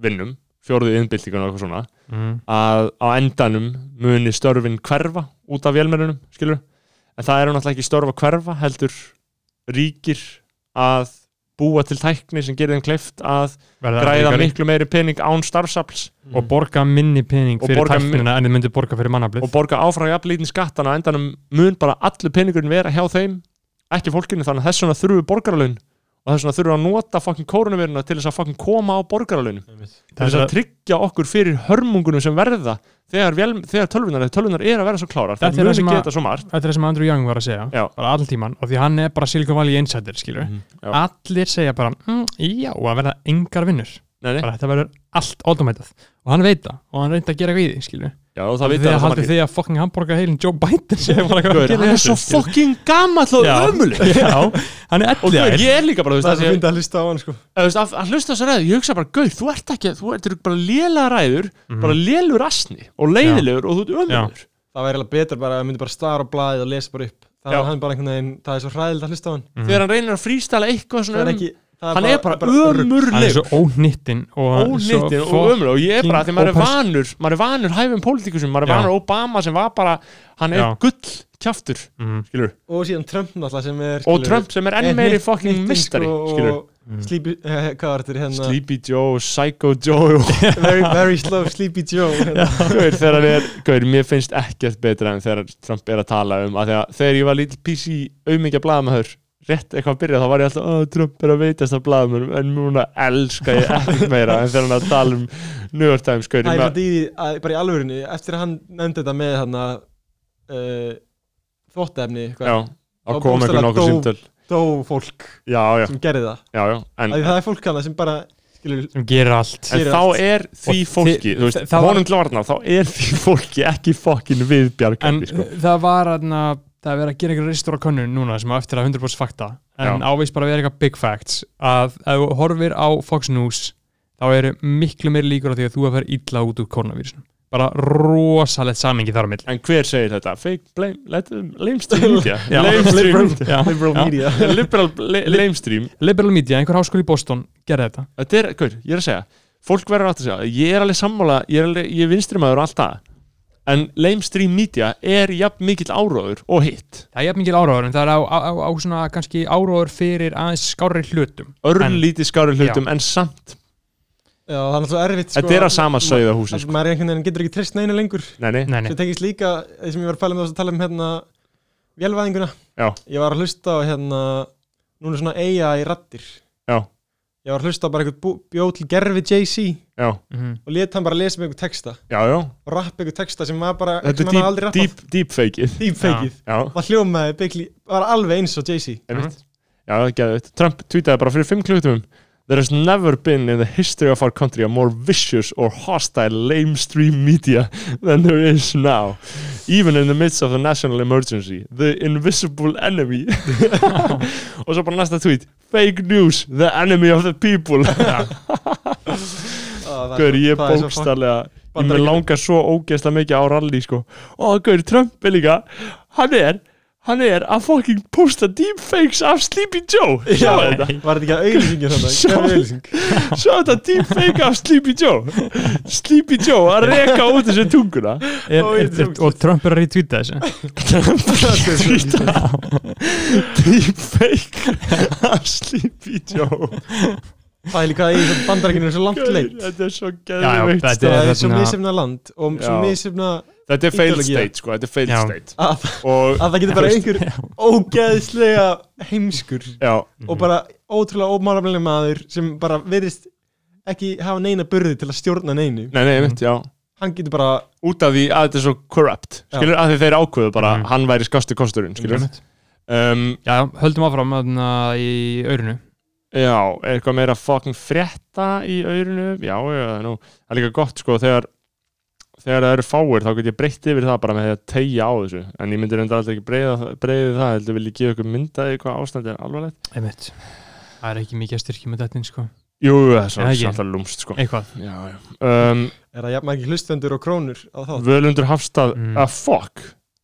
S1: vinnum fjóruðu innbyltingun og eitthvað svona
S2: mm.
S1: að á endanum muni störfin hverfa út af vélmennunum skilur, en það eru náttúrulega ekki störf að hverfa heldur ríkir að búa til tækni sem gerir þeim kleift að
S2: Verða
S1: græða
S2: ríkari
S1: miklu meiri pening án starfsafls
S2: og borga minni pening
S1: Og
S2: fyrir
S1: borga min-
S2: tæknina en þið myndir borga fyrir mannaflið
S1: og borga áfram jafnlítin skattan á endanum mun bara allur peningurinn vera hjá þeim ekki fólkinu, þannig að þess vegna þurfu borgaralun og þess vegna þurfu að nota fokkin koronaviruna til þess að fokkin koma á borgaralunum til þess að tryggja okkur fyrir hörmungunum sem verða þegar, vél, þegar tölvunar, tölvunar er að vera svo klárar
S2: Þetta
S1: það
S2: er það
S1: muni
S2: sem að-
S1: geta svo margt
S2: þetta er það sem Andrew Young var að segja
S1: Já. Mm.
S2: bara allan tíman og því hann er bara Silicon Valley insider skilur
S1: já.
S2: allir segja bara mm, já að verða engar vinnur
S1: nei, nei.
S2: bara þetta verður allt automatað og hann veit það og hann reyndi að gera eitthvað í því skilur
S1: Já, og það veit
S2: því
S1: það
S2: að
S1: svo margir.
S2: haldið því að fucking hamburger heilin Joe Biden segja bara eitthvað
S1: Gaur,
S2: að
S1: hann
S2: gera
S1: er svo
S2: skilur.
S1: fokkin gammal og
S2: Já.
S1: ömuleg
S2: já hann er
S1: og gaur,
S2: ellið
S1: ég er líka bara, þú veist,
S3: Það er
S1: að
S3: svo
S1: ég,
S3: fyndið að hlusta á hann sko
S1: að, þú veist, að, að hlusta þessu ræðu, ég hugsa bara, gaur, þú ert ekki, þú ert eru bara lélega ræður,
S2: Mhm.
S1: bara lélur asni og leiðilegur og þú ert ömulegur.
S3: Það væri eiginlega betur bara að myndi bara stara á blaðið og lesa bara upp Það
S1: Já.
S3: er hann bara einhvern veginn, það er svo hræðilegt að hlusta á hann
S2: Mhm.
S1: Þegar hann reynir að frístæla eitthvað
S3: Það
S1: svona
S3: er
S1: um,
S3: ekki það
S1: hann er bara
S2: hann
S3: rugl.
S2: er
S1: ömurlegur,
S2: svo ónittin og svo
S1: ónýttin og
S2: fucking-
S1: ömulegur og ég er bara, því maður er
S2: ópers-
S1: vanur, maður er vanur hæfum pólitíkusum, maður er
S2: Já.
S1: vanur Obama sem var bara, hann er
S2: Já.
S1: gull kjaftur,
S2: Mhm.
S1: skilur,
S3: Og síðan Trump náttúrulega sem er
S1: og
S3: skilur-
S1: Trump sem er enn
S3: Er
S1: meiri
S3: hitt-
S1: fucking
S3: hitting,
S1: mistari,
S3: sko,
S1: skilur.
S3: og Sleepy, eh, hvað var þetta hérna
S1: Sleepy Joe, Psycho Joe
S3: very, very slow Sleepy Joe hérna.
S1: Gaur, þegar hann er, gaur, mér finnst ekkert betra en þegar Trump er að tala um að þegar, þegar ég var lítil PC auðmyggja blaðamæður rétt eitthvað að byrja þá var ég alltaf að Trump er að veitast af blaðamæður en núna elska ég ekkert meira en þegar hann er að tala um New York Times gaur,
S3: Það er
S1: ég,
S3: bara í því að, bara í alvörinu eftir að hann nefndi þetta með hérna uh, þvottefni
S1: já,
S3: Og
S1: að koma
S3: bókstaflega
S1: einhver nokkur
S3: dó.
S1: símtöl
S3: dó fólk
S1: já, já,
S3: sem gerði það
S1: já, já en,
S3: Af því það er fólk hana sem bara skilur
S2: sem gerir allt
S1: en
S3: Fyrir
S1: þá
S3: allt.
S1: er því
S2: Og þi-
S1: fólki þú veist,
S2: þa- það var-
S1: honum til varna þá er því fólki ekki fokkin við
S2: en uh,
S1: bjargandi sko.
S2: það var aðna, það er verið að gera einhverja reistur á könnun núna sem á eftir að 100% fakta en
S1: Já.
S2: ávist bara að vera eitthvað big facts að ef þú horfir á Fox News þá eru miklu meiri líkur á því að þú að fer illa út úr koronavírusin bara rosalegt samingi þar á milli
S1: en hver segir þetta? fake blame, let them, lamestream media
S2: Já.
S1: lamestream
S2: Já.
S3: liberal
S2: Já.
S3: media
S1: liberal la- lamestream
S2: liberal media, einhver háskóli í Boston gerði þetta
S1: þetta er, hver, ég er að segja fólk verður átt að segja, ég er alveg sammála ég er, alveg, ég er vinstri maður og allt það en lamestream media er jafn mikill áróður og hitt
S2: það er jafn mikil áróður en það er á, á, á, á svona kannski áróður fyrir aðeins skárri hlutum
S1: örlítið skári hlutum en samt
S3: Já, það er náttúrulega erfitt sko,
S1: þetta er að sama sögða húsin
S3: að
S1: sko.
S3: maður er einhvern veginn getur ekki treyst neina lengur
S1: nei, nei,
S2: nei,
S3: Svo
S2: nei.
S3: tekist líka, því sem ég var að pæla um þess að tala um hérna vélvæðinguna
S1: Já.
S3: Ég var að hlusta á hérna núna svona AI rattir
S1: Já.
S3: Ég var að hlusta á bara eitthvað bú- bjó til gerfi Jay-Z
S1: já,
S2: Mhm.
S3: og let hann bara lesa með einhver texta
S1: já, já
S3: og rappa einhver texta sem var bara
S1: þetta
S3: sem hann hafði
S1: er
S3: aldrei
S1: deep, deep, deepfakeið
S3: deepfakeið
S1: já,
S3: Það hljómaði byggli, var alveg eins og Jay-Z
S1: einmitt já, það getur þetta, Trump tweetaði bara fyrir 5 klutum There has never been in the history of our country a more vicious or hostile lamestream media than there is now. Even in the midst of a national emergency, the invisible enemy. Og svo bara næsta tweet, fake news, the enemy of the people.
S3: Á, það er-
S1: Gaur, ég
S3: það er svo fuck-
S1: bókstallega, ég mér
S3: Bandaríkjunum.
S1: langar svo ógeðslega mikið á rally, sko. Og Gaur, Trump er líka, hann er, hann er að fucking posta deepfakes af Sleepy Joe. Sjá þetta.
S3: Var þetta ekki að auðlýsingir þannig?
S1: Sjá.
S3: Gerfi auðlýsing
S1: Sjá þetta deepfake af Sleepy Joe Sleepy Joe að reka út þessu tunguna
S2: er,
S3: Ó,
S2: er,
S3: ég
S2: er,
S3: tók-
S2: og Trump er að retweeta þessu
S1: Trýta Deepfake af Sleepy Joe
S3: Það er líka í bandarækinu er svo langt leitt
S1: Þetta er svo
S2: Já, já,
S1: geðveikt
S2: þetta
S1: stöð.
S3: Það er svo
S2: þarna-
S3: misefna land og svo
S1: Já.
S3: misefna
S1: Þetta er failed
S3: Ideología.
S1: state sko, þetta er failed
S2: Já.
S1: state
S3: að,
S1: og
S3: að það getur bara
S1: Þú
S3: einhver ógeðslega heimskur
S1: já,
S3: og bara ótrúlega ómálefnileg maður sem bara verðist ekki hafa neina burði til að stjórna neinu
S1: nei, nei, mitt, já
S3: Hann getur bara
S1: út af því að þetta er svo corrupt
S3: Já.
S1: skilur, af því þeir ákveðu bara,
S2: Mhm.
S1: hann væri skastu kosturinn skilur, um,
S2: já, já, höldum áfram þarna í aurinu
S1: Já, er eitthvað meira fucking frétta í aurinu, já, já, það er nú það er líka gott sko, þegar þegar það eru fáir, þá get ég breytt yfir það bara með því að tegja á þessu, en ég myndi reynda alltaf ekki breyða, breyði það, heldur vil ég gefa ykkur myndaði hvað ástandi er alvarlegt
S2: einmitt það er ekki mikið að styrkja með þetta sko.
S1: Jú, jú, það er svo
S2: Já, ekki.
S1: alltaf lúmst sko.
S2: eitthvað
S1: Já, já um,
S3: Er það jafn ekki hlustendur og krónur á þá
S1: Völundur Hafstað,
S2: Mm.
S1: að fuck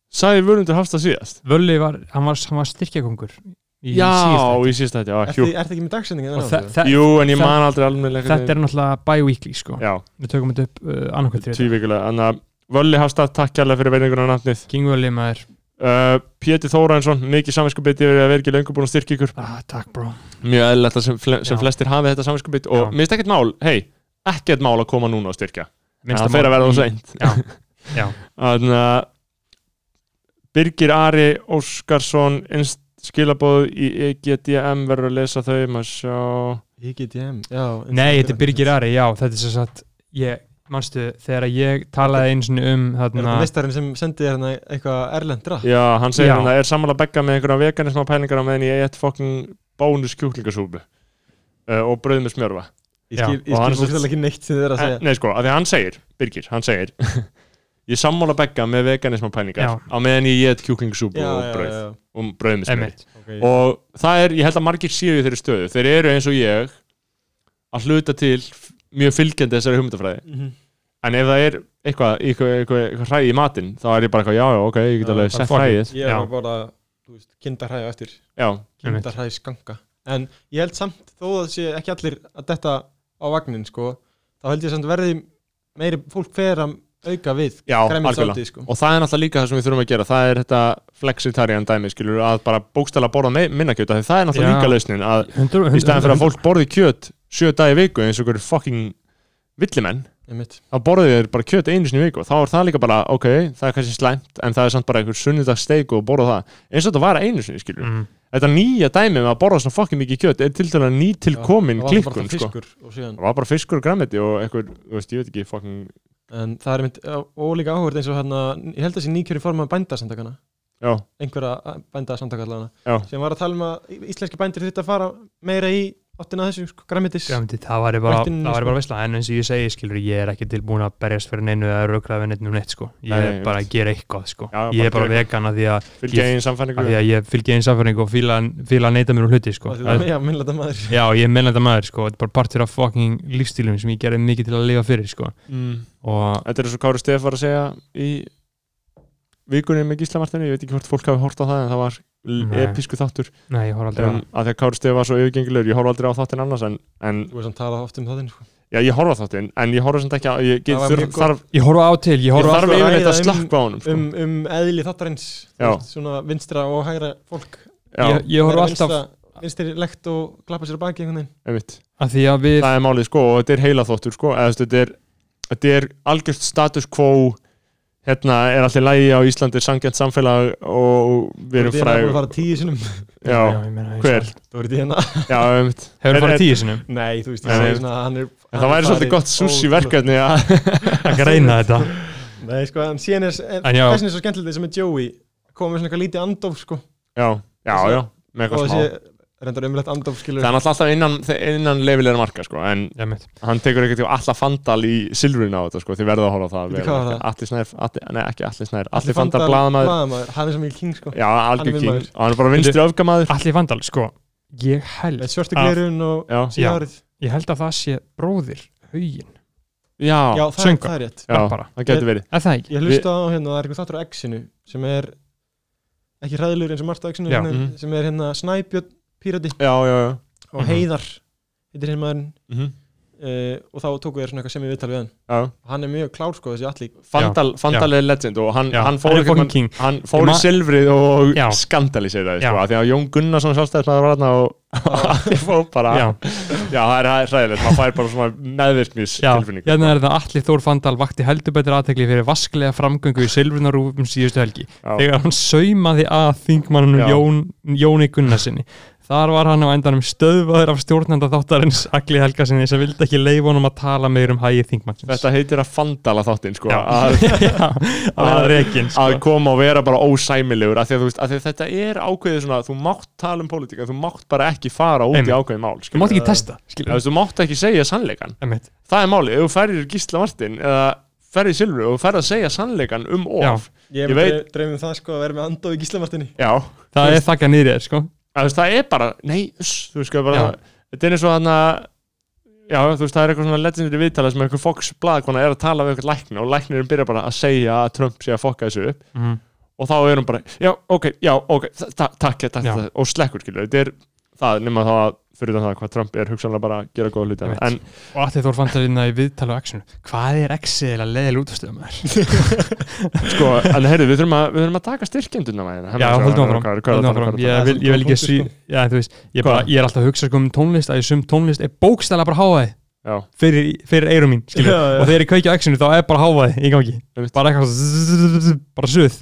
S1: sagði Völundur Hafstað síðast
S2: Völli var, hann var, hann var styrkjakongur í
S1: Já,
S2: síðasta.
S1: í síðast þetta, já,
S3: Er
S1: hjú
S3: það ekki með dagsendingin?
S2: og þa- þa-
S1: Jú, en ég
S2: þa-
S1: man aldrei alveg
S2: þetta er náttúrulega bi-weekly sko.
S1: Já,
S2: við tökum þetta upp uh, annarkvæmt þrjóð
S1: tvívíkulega, þannig að Völli Hafstað, takk kjærlega fyrir veininguna nafnið
S2: King Völli maður,
S1: Uh, Pétur Þórainsson, mikið samvinskubit yfir að vera ekki löngu búin að styrkja ykkur
S2: ah, takk bró
S1: mjög eðlilegt að sem, fle sem
S2: Já.
S1: flestir hafi þetta samvinskubit og
S2: Já.
S1: mér finnst ekkert mál, hei, ekkert mál að koma núna og styrkja, en
S2: Minnsta
S1: það fer að
S2: mál Mm.
S1: verða þá
S2: í-
S1: seint
S2: já,
S1: þannig að Birgir Ari Óskarsson innst skilabóð í E EGDM verður að lesa þau, maður sjá
S3: E IGDM, já
S2: Nei, þetta er Birgir Ari, já, þetta er svo satt ég, manstu, þegar ég talaði eins og um
S3: Er
S2: þarna
S3: þetta mestarinn sem sendi þér hérna eitthvað erlend draf?
S1: já, hann segir
S2: Já.
S1: hann að er sammála begga með einhverja veganisma pælingar á meðan ég eitt fokkin bónus kjúklingasúpu uh, og brauð með smjörfa
S3: Ég
S2: Já,
S3: skil, ég
S1: og hann
S3: skil
S1: er svo-
S3: fólkslega ekki neitt sem þið er að segja
S1: Nei sko, af því að hann segir, Birgir, hann segir Ég sammála begga með veganisma
S2: Já.
S1: pælingar á meðan ég get kjúklingsúpu
S3: Já,
S1: og
S3: já,
S1: brauð
S3: já, já.
S1: og brauð með smjöri
S2: einmitt,
S3: Okay.
S1: og það er, ég held að margir séu í þeirri stöðu þeir eru eins og ég að hluta til f- mjög fylgjandi þessari hugmyndafræði
S3: Mhm.
S1: en ef það er eitthvað, eitthvað, eitthvað, eitthvað hræði í matinn þá er ég bara eitthvað, já, já, ok, ég get
S3: Já,
S1: alveg
S2: bara
S1: sett
S2: fuck
S1: hræðið
S3: Ég
S2: Já.
S3: var bara, þú veist, kindarhæði eftir
S1: Já,
S2: einmitt.
S3: kindarhæði skanka En ég held samt, þó að sé ekki allir að detta á vagnin, sko þá held ég samt verði meiri fólk fer að auka við
S1: Já, algjörlega
S3: grænmetisátið, sko.
S1: Og það er náttúrulega líka það sem við þurfum að gera Það er þetta flexitarian dæmi skilur Að bara bókstæla borða me- minna kjöt af því Það er náttúrulega
S2: Já.
S1: líka lausnin að
S2: Hundur,
S1: Í staðan fyrir að fólk borði kjöt Sjö dagi í viku eins og ykkur fucking villimenn
S3: Einmitt.
S1: Þá borðið þeir bara kjöt einu sinni í viku og Þá er það líka bara, ok, það er kannski slæmt En það er samt bara einhver sunnudagssteik og borða það Eins og þetta var einu sinni skilur
S2: mm,
S1: Þetta nýja dæmi með að borða svona fucking mikið kjöt Er til dæla ný til
S3: Já,
S1: komin
S3: það var bara
S1: klikkun
S3: það
S1: sko.
S3: fiskur og síðan-
S1: Það var bara fiskur og græmiti og einhver, þú veist, ég veit ekki fucking,
S3: en það er einmitt ólíka áhverð eins og hérna, ég held að þessi nýkjöri form af bændasamtakana
S1: já,
S3: einhverja bændasamtaka allavega
S1: já
S3: sem var að tala um að í- íslenski bændir þurfti að fara meira í áttina að þessu sko, græmitis
S2: grænmeti, það væri bara,
S3: Ræktinni,
S2: það væri
S3: sko.
S2: bara veistla en eins og ég segi, skilur, ég er ekki tilbúin að berjast fyrir neinu eða rökraða við neinu um neitt sko. ég
S1: Nei,
S2: er
S1: ég
S2: bara
S1: veit.
S2: að gera eitthvað sko.
S1: Já,
S2: ég
S1: bara
S2: er bara
S1: gera
S2: vegan að því að,
S1: Fylgja
S2: Ég-
S1: einn samfæningu
S2: að, því að ég fylgi eins afhverning og fíla, fíla að neyta mér um hluti sko.
S3: það er meira minnlega maður
S2: já, ég er mennlega maður sko. þetta er bara partur af fucking lífstílum sem ég gerði mikið til að lifa fyrir sko.
S1: mm.
S2: og
S1: Þetta er eins og Kári Stef var að segja í vikunni með Gíslamartinu, ég veit ekki hvort fólk hafi hort á það en það var l-
S2: Nei.
S1: episku þáttur
S2: nei, ég horf aldrei
S1: um, að því að Kári Stef var svo yfirgengilegur, ég horf aldrei á þáttin annars en, en
S3: þú veist að tala oft um það þinn sko.
S1: já, ég horf á þáttin, en ég horf samt ekki á ég get,
S3: Það var
S1: þurf,
S3: mjög gott.
S1: þarf,
S2: á ég horf á til, ég
S1: ég
S2: horf á
S1: þarf
S3: að
S1: yfirleitt að
S3: ræða um-
S1: slakka á honum sko.
S3: um, um eðli þáttarins þú
S1: Já.
S3: veist, svona vinstra og hægra fólk
S1: já,
S2: ég, ég horf
S3: Meira
S2: alltaf
S3: vinstra- vinstri lekt og klappa sér á baki einhvern veginn
S1: einmitt
S2: að því að við
S1: það er málið sko og þetta er heila þóttur sko eða þú veist, þetta er, þetta er algjört status quo hérna er allir lægi á Íslandi sangjant samfélag og við erum
S3: Þú ert í hérna búin að
S1: fræg
S3: fara tíu sinnum
S1: já,
S2: ég meina, ég-
S1: hver?
S3: þú ert í hérna
S1: já, einmitt
S2: hefur
S1: Er-
S2: farið
S1: er-
S2: tíu sinum
S3: nei, þú veist,
S1: Nei,
S3: ég segi
S1: nei.
S3: svona að hann
S1: En
S3: er hann
S1: það
S3: er
S1: væri svolítið
S3: farið
S1: gott sushi
S3: ótrúlega-
S1: verkefni að
S2: að greina þetta
S3: Nei, sko, en síðan er, en
S2: En já.
S3: þess vegna er svo skemmtilegt þess með Joey koma með svona eitthvað lítið andof, sko
S1: Já, já, já, með
S3: og
S1: eitthvað smá
S3: þessi, reyndar umlegt andof, skilur
S1: Það er náttúrulega alltaf innan, innan leifilega marka sko, en
S2: Já, mitt.
S1: hann tekur ekkert til alltaf fandal í silfurinn á þetta sko, þið verða að horfa á það
S3: Bíddu, hvað var það?
S1: Allir snær, allir, nei ekki allir snær Allir fandal blaðamaður
S3: blaðamaður, hann er svo mikið king, sko
S1: Já,
S3: Hann er
S1: algjör king
S3: miðmaður.
S1: Og hann er bara vinstri öfgamaður
S2: Atli Vandal, sko ég held,
S3: með svörtu
S2: að-
S3: glerun og
S1: Já,
S2: Já.
S3: síðárið
S2: ég held að það sé bróðir haugin,
S1: já,
S3: já, það, er,
S2: söngvar.
S3: það er rétt
S1: já
S2: bara.
S1: það getur verið
S2: er það ekki?
S3: ég hlusta á hérna, það er eitthvað þáttur á X-inu sem er ekki hræðilegur eins og margt á X-inu
S2: Já.
S3: hérna,
S1: Mhm.
S3: sem er hérna Snæbjörn Pírati
S1: Já, já, já
S3: og
S2: Mhm.
S3: Heiðar heitir hinn maðurinn
S1: mhm,
S3: uh, og þá tóku þér svona eitthvað sem ég viðtal við hann
S1: já.
S3: og hann er mjög klár sko þessi allir
S1: Fandal, fandal er legend og hann,
S2: Já,
S1: hann
S2: hann
S1: fór
S2: er
S1: einhvern
S2: fucking
S1: mann-
S2: king.
S1: hann fór í
S2: Ég ma-
S1: silfrið og
S2: Já.
S1: skandalisir það
S2: Já.
S1: sko, af því að Jón Gunnarsson sjálfstæðismæður var þarna og hann fór bara
S2: Já,
S1: Já, það er hræðilegt, maður fær bara svona meðvirknis
S2: já,
S1: tilfinningu
S2: hérna er það Atli Þór Fandal vakti heldur betur aðtekli fyrir vasklega framgöngu í silfrunarúfum síðustu helgi
S1: já,
S2: þegar hann saumaði að þingmannum
S1: Já.
S2: Jón, Jóni Gunnarsinni þar var hann á endanum stöðvaður af stjórnanda þáttarins Agli Helgarsinni sem vildi ekki leifa honum að tala meir um hægi þingmannsins
S1: Þetta heitir að fandala þáttinn sko,
S2: Já.
S1: að,
S2: Já, að vera reikinn
S1: að
S2: sko.
S1: koma og vera bara ósæmilegur af því að, þú veist, af því að þetta er ákveðið svona þú mátt tala um pólitíka, þú mátt bara ekki fara út
S2: Einmitt.
S1: í ákveðið mál
S2: Þú
S1: skilur.
S2: mátt ekki testa
S1: Já, þú
S2: skilur.
S1: veist, Þú mátt ekki segja sannleikan
S2: Einmitt.
S1: Það er málið, ef þú færir Gísla Martin eða færir Silvri og þú færir að segja sannleikan um of
S3: ég,
S1: Ég veit-
S3: ég dreymum það sko að vera með andof í gíslamartinni
S1: Já,
S2: Það er þakka nýrið þér sko
S1: Að, þú veist, það er bara, nei, uss, þú veist, það er bara
S2: Já.
S1: þetta er eins og hann já, þú veist, það er eitthvað svona legendary viðtala sem einhver Fox blaðkona er að tala við einhvern lækni og læknirinn byrjar bara að segja að Trump sé að fokka þessu upp
S2: Mhm.
S1: og þá er hún bara, já, ok, já, ok ta- ta- takk, takk,
S2: Já.
S1: takk, og slekkur, skilur þetta er það, nema þá að fyrir utan það hvað Trump er hugsanlega bara að gera góða hluti
S2: Ég veit.
S1: en
S2: Og Atli Þór Fandal inn í viðtala á X-inu Hvað er X-ið eða leiðil útastöðum þær?
S1: sko, en heyrðu, við þurfum að, við þurfum að taka styrkjenduna með hérna
S2: Já, holdum áfram,
S1: Hvað er- hvað er
S2: holdum
S1: að tala
S2: áfram
S1: um?
S2: Ég
S3: Það er
S2: vil, ég vil ekki
S3: punktur,
S2: sví
S3: sko.
S2: Já, þú veist, ég, bara,
S1: Hvað?
S2: ég er alltaf að hugsa sko um tónlist að ég sum tónlist er bókstæla bara háaði
S1: Já.
S2: fyrir, fyrir eirum mín, skilur
S3: Já, já.
S2: og þegar ég kveiki á X-inu þá er bara háaði í gangi
S1: Einmitt.
S2: bara eitthvað zzzz, bara suð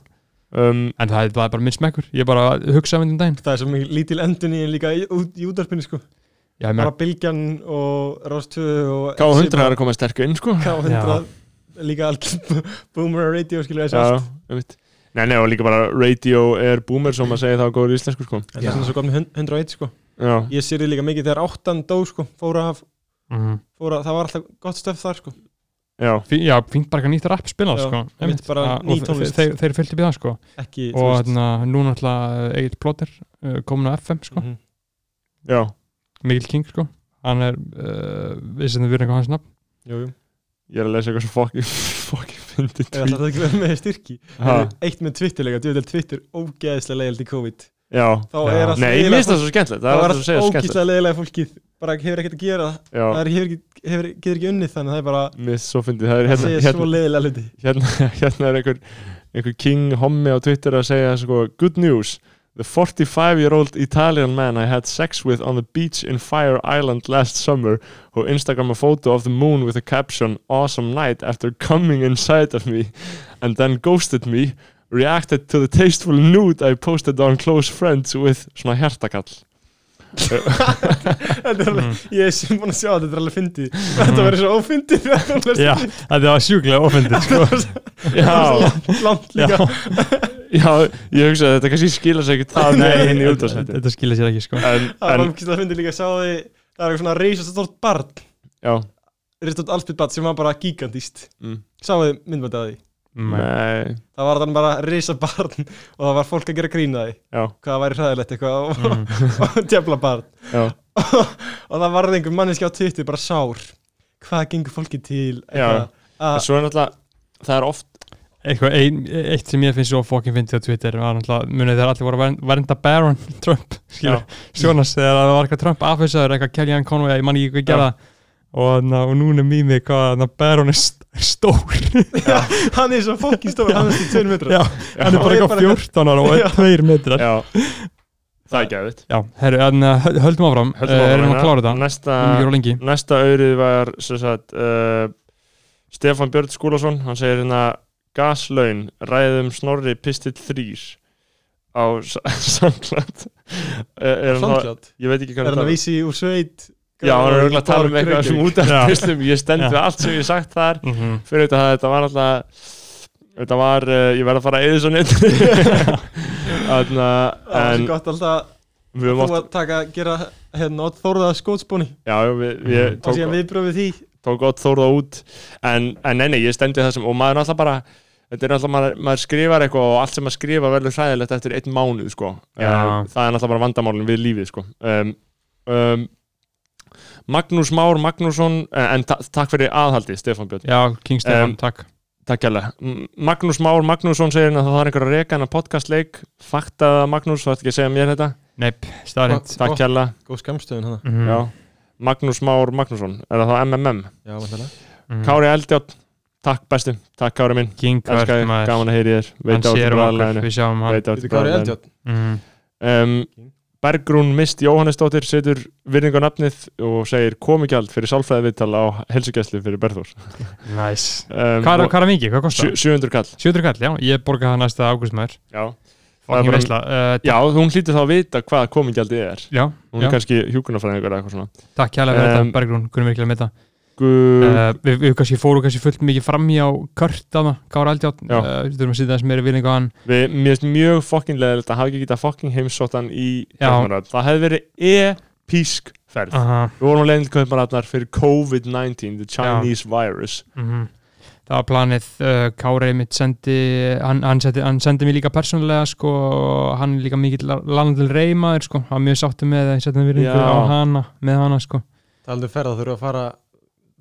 S1: Um,
S2: en það er, það er bara minn smekkur ég er bara að hugsa um þetta um daginn
S3: það er svo mikið lítil endun í en líka í, út- í útarpinu sko
S2: Já, ég meina,
S3: bara bylgjan og rástöðu og
S1: K100 er að koma sterkur inn, sko
S3: K100 líka algjör boomer radio skilur þessi allt
S1: Já, einmitt. Nei, nei, og líka bara radio er boomer sem að segja það á góður íslensku sko.
S3: en það er svona svo gott með 101 sko
S1: Já,
S3: ég sér þið líka mikið þegar áttan dó sko fóra af
S2: mhm.
S3: fóra, það var alltaf gott stöf þar sko
S1: já,
S2: Fí- já, fínt bara eitthvað nýtt rapp spilað
S3: Já,
S2: sko.
S3: einmitt,
S2: Einmitt.
S3: bara
S2: Að-
S3: ný
S2: og þe-
S3: tónlist.
S2: þeir, þeir fylgdu býða sko.
S3: ekki
S2: og hérna, núna eh, alltaf Egil Plóter uh, komin á FM sko.
S3: mm -hmm.
S1: já,
S2: Mikil King sko. hann er, uh, við sem þið verðum eitthvað hans nafn
S3: jú, jú.
S1: ég er að lesa eitthvað svo fokkin fokkin fyndi
S3: er alltaf ekki verið með styrki
S1: Ha.
S3: Heyrðu, eitt með Twitter líka, djúvel Twitter ógeðislega leiðild í COVID
S1: Já,
S3: þá
S2: Já.
S3: er alltaf
S1: nei, ég
S3: leiðilega
S1: minnst það svo skemmtilegt
S3: þá
S1: Það
S3: er
S1: er það að
S3: alltaf
S1: segja skemmtilegt
S3: ógeðislega leiðilega fólkið bara hefur ekkert að gera
S1: já,
S3: það er, hefur, ekki- hefur, getur ekki unnið þannig að það er bara
S1: mér er svo fyndið það er
S3: það
S1: hérna,
S3: segja svo
S1: hérna,
S3: leiðilega hluti
S1: hérna, hérna er einhver, einhver king hommi á Twitter að segja sko, good news The 45-year-old Italian man I had sex with on the beach in Fire Island last summer who Instagram a photo of the moon with a caption Awesome night after coming inside of me and then ghosted me reacted to the tasteful nude I posted on close friends with svona hjertakall
S3: Þetta er alveg- ég er sem búin að sjá að þetta er alveg fyndið
S1: Mhm.
S3: þetta verður svo ófyndið
S2: Mm. Já, það var sjúklega ofendið sko.
S1: Já,
S3: langt
S2: Já,
S3: líka
S1: já, ég hugsa að þetta kannski skila sér ekki það með inn í útastætti
S2: þetta skilja sér ekki sko.
S1: en,
S3: það var
S1: en,
S3: alveg að fyndið líka að sjá því það er eitthvað svona reysast stort barn
S1: já,
S3: reysast stort allspilt barn sem var bara gigantist
S1: Mm.
S3: sáðu myndbændið að því
S2: Nei.
S1: nei,
S3: það var þannig bara reysa barn og það var fólk að gera grína því
S1: já,
S3: hvað væri hræðilegt eitthvað og,
S1: Mm.
S3: og djafla barn
S1: já
S3: og það varði einhver manneski á Twitter bara sár hvað gengur fólki til
S1: Já.
S3: að,
S1: en svo er náttúrulega það er oft,
S2: Eitthvað, ein, eitt sem ég finnst svo fokkin fyndið á Twitter var náttúrulega, munið þegar allir voru að vern- vernda Baron Trump, skilja, svona þegar það var eitthvað Trump afhersaður, eitthvað Kellyanne Conway, ég man ekki hvað
S1: Já.
S2: gera og, na, og núna er mými hvað na, Baron er st- stór
S3: hann er svo fólki stóður hann er svo 2 metrar
S2: Já, hann er bara
S3: Og ég
S2: eitthvað
S3: bara eitthvað-
S2: 14 ára og
S3: Já.
S2: er 2 metrar
S1: já það er gefitt
S2: Já, herru, en uh, höl- höldum áfram, höldum áfram Eh, hérna. erum að klára þetta,
S1: næsta,
S2: við erum ekki á lengi
S1: næsta aurið var sem sagt uh, Stefan Björn Skúlason, hann segir hérna gaslaun, ræðum snorri pistill þrýr á samklant uh,
S3: samtlátt
S1: ég veit ekki
S3: er
S1: hvað
S3: hann
S1: þetta
S3: að vísi úr sveit
S1: Já, hann er auðvitað að tala um eitthvað sem út af
S2: Já.
S1: pislum, ég stend
S2: Já.
S1: við allt sem ég hef sagt þar
S2: mm -hmm.
S1: fyrir þetta, þetta var alltaf þetta var, uh, ég verð að fara að eða svo neitt Þarna,
S3: það var
S1: en
S3: svo gott alltaf
S1: við höfum
S3: þú
S1: oft
S3: að taka að gera hérna og þóruða skótsbóni
S1: já, já, við, við
S2: Mhm.
S3: og
S1: tók,
S3: Mm, síðan viðbröfið því
S1: tók gott þórða út en, en neini, ég stend við það sem og maður náttúrulega bara, þetta er náttúrulega maður, maður skrifar eitthvað og allt sem maður skrifar verður hræðilegt eftir einn mánuð, sko um,
S2: Já.
S1: það er náttúrulega bara vandamálin við lífið, sko um, um, Magnús Már Magnússon, eh, en ta takk fyrir aðhaldi Stefán Björn
S2: Já, King Stefan,
S1: Em,
S2: takk
S1: Takk gæla. Magnús Már Magnússon segir hérna að það var einhver að reka hann að podcastleik. Faktaða Magnús, þú ætti ekki að segja mér þetta.
S2: Neip, staðrind
S1: Takk gæla.
S3: góð skamstöðun hann
S2: mm
S1: Já. Magnús Már Magnússon, er það þá MMM?
S3: já, vantilega
S1: Kári Eldjátt, takk bestu. Takk Kári minn.
S2: mhm. King
S1: Elskar þig,
S2: Vertmaður
S1: gaman að heyri þér.
S2: hann
S1: Veit á
S2: sér
S1: þetta
S2: um okkur,
S1: bræðaleginu.
S2: við sjáum hann
S1: Veit á
S3: Þetta
S1: þetta
S3: er Kári
S1: bræðaleginu.
S3: Eldjátt
S2: mm.
S1: Um, Bergrún Mist Jóhannesdóttir setur virðingu á nafnið og segir komigjald fyrir sálfræði viðtal á helsugjæslu fyrir Berður.
S2: Næs
S1: Um,
S2: Hvað er
S1: og-
S2: hvað er það mikið, hvað kostar?
S1: sjö- 700 kall.
S2: 700 kall, já, ég borga það næsta ágústmaður
S1: Já. Það er
S2: Fokkin
S1: bara-
S2: veisla uh,
S1: Já, hún hlýtur þá að vita hvað komigjaldið er.
S2: Já,
S1: Hún
S2: já,
S1: er kannski hjúkunarfræðingur eða eitthvað svona.
S2: takk kjærlega fyrir
S1: Em,
S2: þetta Bergrún, kunum virkilega með það
S1: Gu...
S2: uh, Við, við kannski fóru kannski fullt mikið fram í á Kört að það, Kára Eldjátt
S1: Já.
S2: uh, Við þurfum að sýta þess meira virðing á hann
S1: Við, mér finnst mjög fokkin leðilegt að hafa ekki getað fokkin heimsóttan í
S2: Já. Ah.
S1: Kaupmannahöfn. Það hefði verið e-písk ferð.
S2: Aha,
S1: Við vorum leiðin til Kaupmannafnar fyrir COVID-19, the Chinese virus.
S2: mhm. Það var planið, uh, Kári mitt sendi hann, hann sendi, hann sendi mér líka persónulega sko, og hann er líka mikill landil reymaður sko, hann er mjög sáttu með að ég setja virðingu
S1: Já.
S2: á hana, með hana sko
S3: Talandi um ferða þurfa að fara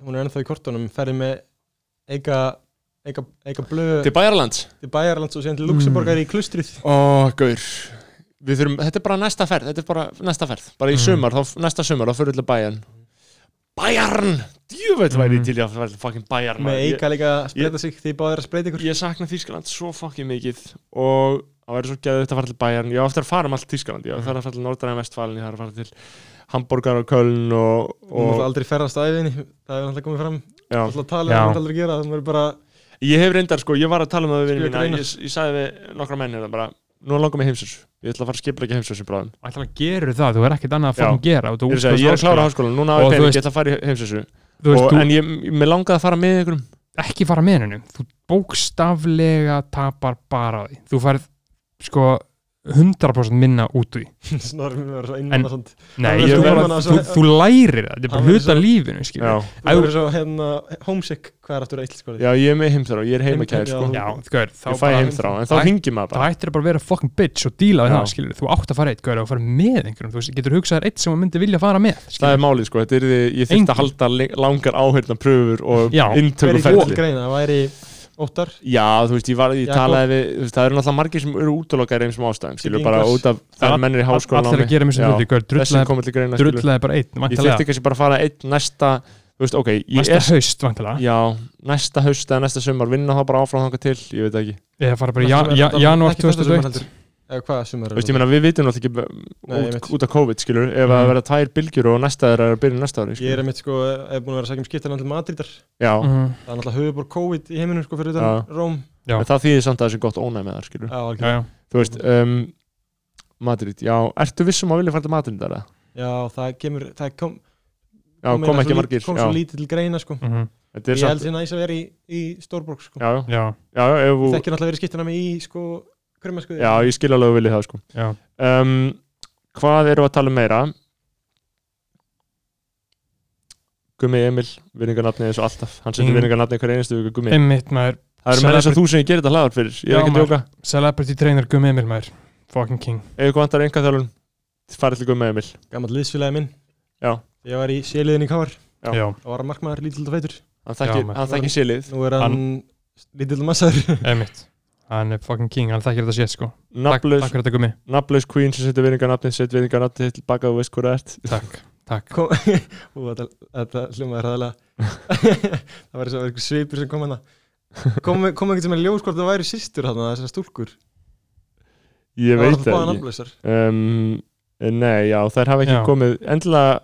S3: hún er ennþá í kortunum, ferði með eiga, eiga, eiga blöð
S1: Til Bæjarlands.
S3: til Bæjarlands og síðan til Luxemburgar í klustrið
S1: Ó, gaur. Við þurfum, þetta er bara næsta ferð, þetta er bara næsta ferð. Bara í
S2: Mhm.
S1: sumar, þá, næsta sumar, þá fyrir við til Bæjarn. Bæjarn! Djúvöld væri
S2: Mhm.
S1: ég til í að ferð fokkin Bæjarn.
S3: með
S1: maður.
S3: eiga líka að spreita sig því báðir að spreita ykkur
S1: Ég, ég sakna Þískaland svo fokkin mikið og það væri svo geðið að fara til Bæjarn. Ég á eftir að fara um allt Þískaland.
S2: Mhm.
S1: Ég á eftir að fara til Nordræðan Vestfalen, ég þarf að fara til Hamburgar og Köln og,
S3: og
S1: og
S3: það aldrei ferðast að æfinni það er alltaf komið fram,
S1: Já.
S3: alltaf talið
S2: Já.
S3: það er aldrei að um gera, það er bara
S1: Ég hef reyndar sko, ég var að tala um það við vinið
S3: Skrifa
S1: mína
S3: greinar.
S1: ég, ég sagði við nokkra menn hérna bara Nú langar mig heimsins, ég ætla að fara að skipla ekki heimsins í bráðum
S2: Ætla að gera það, þú er ekkert annað að fara að gera
S1: Ég er að segja, ég er að klára háskólan, núna á ég
S2: Og þú
S1: pening,
S2: veist-
S1: ég ætla að fara í heimsinsu
S2: þú veist,
S1: En ég, mér langaði að fara með ykkur
S2: þú ekki fara með hennum þú bókstaflega tapar bara á því þú færð sko 100% minna út úr því
S3: snormið verður svo
S2: En-
S3: einmann og svont
S2: Nei,
S3: Hann
S1: verður
S2: ég, þú,
S1: svo
S2: bara,
S3: gaman að
S2: þú,
S3: svo-
S2: þú lærir það, þetta er
S3: Hann
S2: bara
S3: verður
S2: hluta af lífinu skilur.
S1: Já,
S3: það verður svo hérna homesick, hvað er aftur eitt sko
S1: já ég er með heimþrá, ég er heimakær
S3: Heim-
S1: sko
S3: já.
S2: já gaur, þá
S1: Ég fæ
S2: bara
S1: heimþrá, en þá
S2: Það-
S1: hringi maður
S2: það
S1: bara
S2: ættir bara að vera fucking bitch og díla við
S1: Já.
S2: það, skilur, þú átt að fara eitt gaur og fara með einhverjum, þú veist, getur hugsað þér eitt sem þú myndi vilja fara með,
S1: Það
S2: skilur
S1: er málið sko, þetta er því, ég þyrfti
S2: Engin.
S1: að halda le- langar áhyrna pröfur og
S2: Já.
S1: inntöku
S3: verður
S1: ferli
S3: ekki til greina, það væri óttar
S1: Já, þú veist, ég, var, ég
S3: Jakob.
S1: talaði við þú veist, Það eru náttúrulega margir sem eru útlokkar eins og ástæðum Skilur
S3: Siggi
S1: bara
S3: Ingvars.
S1: út af Það
S2: Það-
S1: er mennir í háskóla
S2: allir að gera með þessu hluti í kvöld,
S1: Þessi
S2: drullaði-
S1: komið til greina skilur.
S2: drullaði bara
S1: Ég
S2: einn
S1: þurfti
S2: væntanlega,
S1: kannski bara að fara einn næsta Þú veist, ok, ég
S2: næsta
S1: er
S2: haust væntanlega
S1: Já, næsta haust eða næsta sumar vinna það bara áfram þangað til, ég veit það ekki
S2: eða fara bara í jan- ja- janúar 2001
S3: eða hvað sumar
S1: Þú veist, ég meina, við vitum náttúrulega
S3: Nei,
S1: ekki
S3: ég
S1: út,
S3: veit.
S1: út af COVID, skilur ef að
S2: Mm.
S1: vera tvær bylgjur og næsta þeirra er að byrja næsta ári
S3: ég er
S1: skilur.
S3: einmitt sko hef búin að vera að segja um skiptan til Madridar
S1: Já,
S2: Mhm.
S3: það er náttúrulega höfubor COVID í heiminum sko fyrir utan Róm
S2: Já.
S1: en það þýðir samt að þessi gott ónæmi með það, skilur
S3: já,
S2: Já,
S3: algjörlega.
S2: já.
S1: Þú veist, um, Madrid, já Ertu vissum að vilja fara til Madrid þar? eða?
S3: já, það kemur það kom,
S1: Já, kom ekki
S3: eiginlega svo lít-
S1: margir
S3: kom
S1: já.
S3: svo lítið til greina sko
S2: Mhm.
S1: Þetta er
S3: ég held
S1: samt,
S3: sér næs að vera í, í Stórborg sko.
S1: já, já,
S2: já,
S1: já, já, ef þú
S3: þekkir náttúrulega verið skiptina með í sko krömmaskuði
S1: Já, ég skil alveg vilja það, sko
S2: já
S1: um, Hvað eru að tala um meira? Gummi Emil, vinningarnafni eins og alltaf Hann setur
S2: Mm.
S1: mm. vinningarnafni hver einustu viku Gummi
S2: einmitt maður,
S1: Það eru með þess að þú sem ég gerir þetta hlaðar fyrir Ég
S2: Já,
S1: er ekki að
S2: maður.
S1: djóka
S2: celebrity trainer Gummi Emil maður fucking king,
S1: Ef ykkur vantar enga þjálun Farið til Gummi Emil
S3: gammal liðsfélagi minn
S1: Já.
S3: ég var í séliðin í Káar
S1: Já.
S2: já,
S3: og var að markmaður lítill og feitur
S1: Hann
S2: Já,
S1: þekkir,
S2: maður.
S1: hann þekkir sílið
S3: nú er hann, lítill og massaður
S2: einmitt hann er fucking king, hann þekkir þetta sétt sko takk, takk
S1: Nafnlaus
S2: fyrir þetta Gummi,
S1: nafnlaus Queen sem setur vinningarnafni Setur vinningarnafni til baka og veist hvað það ert
S2: takk, takk
S3: Kom- Ú, þetta, þetta hljómaði hraðalega það var eins og að vera einhver svipur sem kom hana kom, kom einhvern sem er ljós hvort það væri systur hana þessar stúlkur
S1: Ég
S3: það
S1: veit
S3: var
S1: það
S3: báðan
S1: ekki
S3: aflausar
S1: um, Nei, já, þær hafa ekki
S2: Já.
S1: komið Endilega,